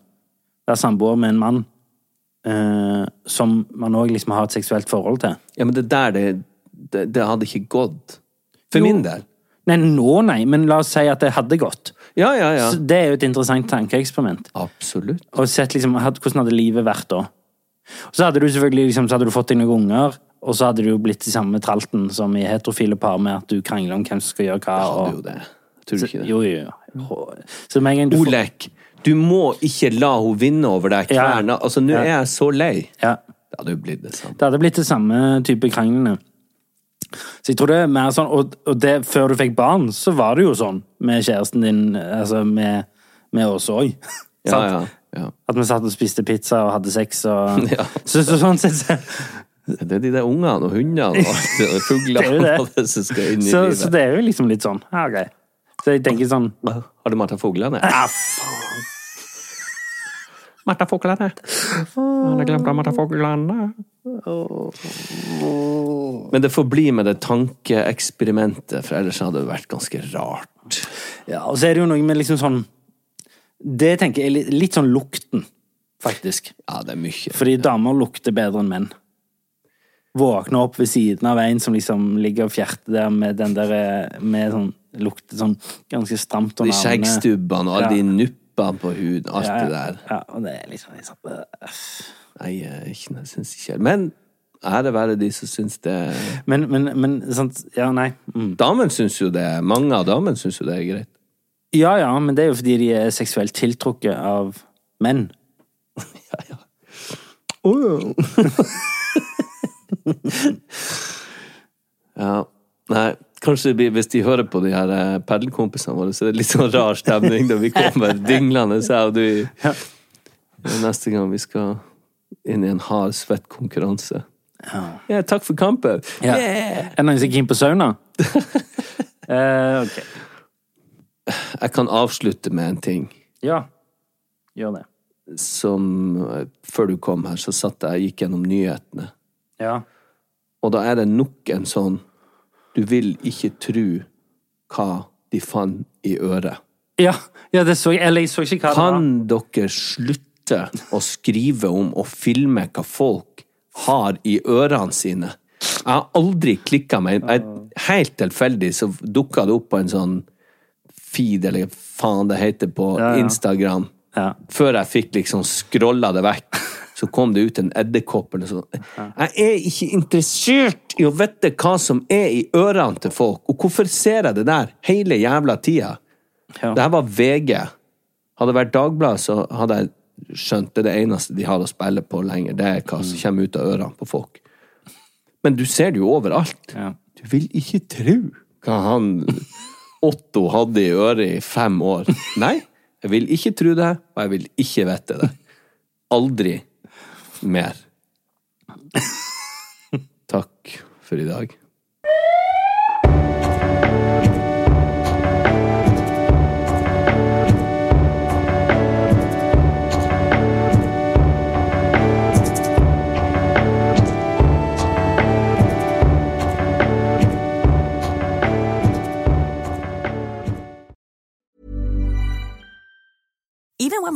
Speaker 2: være samboer med en mann eh, som man òg liksom har et seksuelt forhold til.
Speaker 3: Ja, men det der, det, det, det hadde ikke gått. For
Speaker 2: Jo.
Speaker 3: min del.
Speaker 2: Nei, nå nei, men la oss si at det hadde gått.
Speaker 3: Ja, ja, ja.
Speaker 2: Så det er jo et interessant tankeeksperiment.
Speaker 3: Absolutt.
Speaker 2: Og sett liksom, had- hvordan hadde livet vært da? Og så hadde du selvfølgelig liksom, så hadde du fått deg noen unger, og så hadde du jo blitt i samme tralten som i heterofile par med at du krangler om hvem som skal gjøre hva.
Speaker 3: Hadde
Speaker 2: og-
Speaker 3: jo det. Tror du ikke det?
Speaker 2: Jo, jo, jo. Så med en gang du får-
Speaker 3: Olek, du må ikke la henne vinne over deg
Speaker 2: Ja.
Speaker 3: hver natt. Altså, nå er jeg så lei.
Speaker 2: Ja.
Speaker 3: Det hadde jo blitt det samme.
Speaker 2: Det hadde blitt det samme type kranglene. Så jeg tror det er mer sånn, og, og det, før du fikk barn, så var det jo sånn med kjæresten din, altså med, med oss <laughs> òg.
Speaker 3: Ja, ja, ja.
Speaker 2: At vi satt og spiste pizza og hadde sex
Speaker 3: <laughs>
Speaker 2: og så, så sånn sett så,
Speaker 3: Det er de der ungene og hundene
Speaker 2: <laughs>
Speaker 3: og alt det, og
Speaker 2: Det er jo
Speaker 3: fuglene
Speaker 2: det.
Speaker 3: og alt det <laughs> som skal inn i
Speaker 2: så, så
Speaker 3: livet.
Speaker 2: det er jo liksom litt sånn. Ja, ok. Så jeg tenker sånn
Speaker 3: Har du Martha Fuglene? Ja, faen! Martha Fuglene. Har du glemt av Martha Fuglene? Men det får bli med det tankeeksperimentet, for ellers hadde det vært ganske rart.
Speaker 2: Ja, og så er det jo noe med liksom sånn Det tenker jeg er litt, litt sånn lukten, faktisk.
Speaker 3: Ja, det er mye.
Speaker 2: Fordi damer lukter bedre enn menn. Våkne opp ved siden av en som liksom ligger og fjerter der med den der eh, med sånn lukter sånn ganske stramt
Speaker 3: De
Speaker 2: under
Speaker 3: skjeggstubbene og alle
Speaker 2: Ja.
Speaker 3: de nuppene på huden, alt
Speaker 2: Ja, ja.
Speaker 3: det der.
Speaker 2: Ja, og det er liksom, litt sånn, øh.
Speaker 3: Nei, eh, ikke, jeg syns ikke Men ære være de som syns det
Speaker 2: Men, men, men sant Ja, nei. Mm.
Speaker 3: Damene syns jo det. Mange av damene syns jo det er greit.
Speaker 2: Ja ja, men det er jo fordi de er seksuelt tiltrukket av menn.
Speaker 3: <laughs> Ja. Nei, kanskje det blir, hvis de hører på de her eh, paddelkompisene våre, så er det litt sånn rar stemning da vi kommer dinglende, jeg og du, i- neste gang vi skal inn i en hard, svett konkurranse. Ja, takk for kampen!
Speaker 2: Ja.
Speaker 3: Yeah!
Speaker 2: Er det noen som er keen på sauna? eh, ok.
Speaker 3: Jeg kan avslutte med en ting.
Speaker 2: Ja. Gjør det.
Speaker 3: Som eh, Før du kom her, så satt jeg og gikk gjennom nyhetene.
Speaker 2: Ja.
Speaker 3: Og da er det nok en sånn Du vil ikke tro hva de fant i øret.
Speaker 2: Ja, ja det så jeg. Eller jeg så ikke hva det var.
Speaker 3: Kan dere slutte å skrive om og filme hva folk har i ørene sine? Jeg har aldri klikka meg inn. Jeg- Helt tilfeldig så dukka det opp på en sånn feed, eller hva faen det heter, på Instagram.
Speaker 2: Ja.
Speaker 3: Før jeg fikk liksom scrolla det vekk, så kom det ut en edderkopp eller noe sånt. Jeg er ikke interessert i å vite hva som er i ørene til folk, og hvorfor ser jeg det der hele jævla tida?
Speaker 2: Ja.
Speaker 3: Det her var VG. Hadde det vært Dagbladet, så hadde jeg skjønt det er det eneste de har å spille på lenger. Det er hva som
Speaker 2: Mm.
Speaker 3: kommer ut av ørene på folk. Men du ser det jo overalt.
Speaker 2: Ja.
Speaker 3: Du vil ikke tro hva han Otto hadde i øret i fem år. Nei, jeg vil ikke tro det, og jeg vil ikke vite det. Aldri mer. Takk for i dag.
Speaker 6: Even when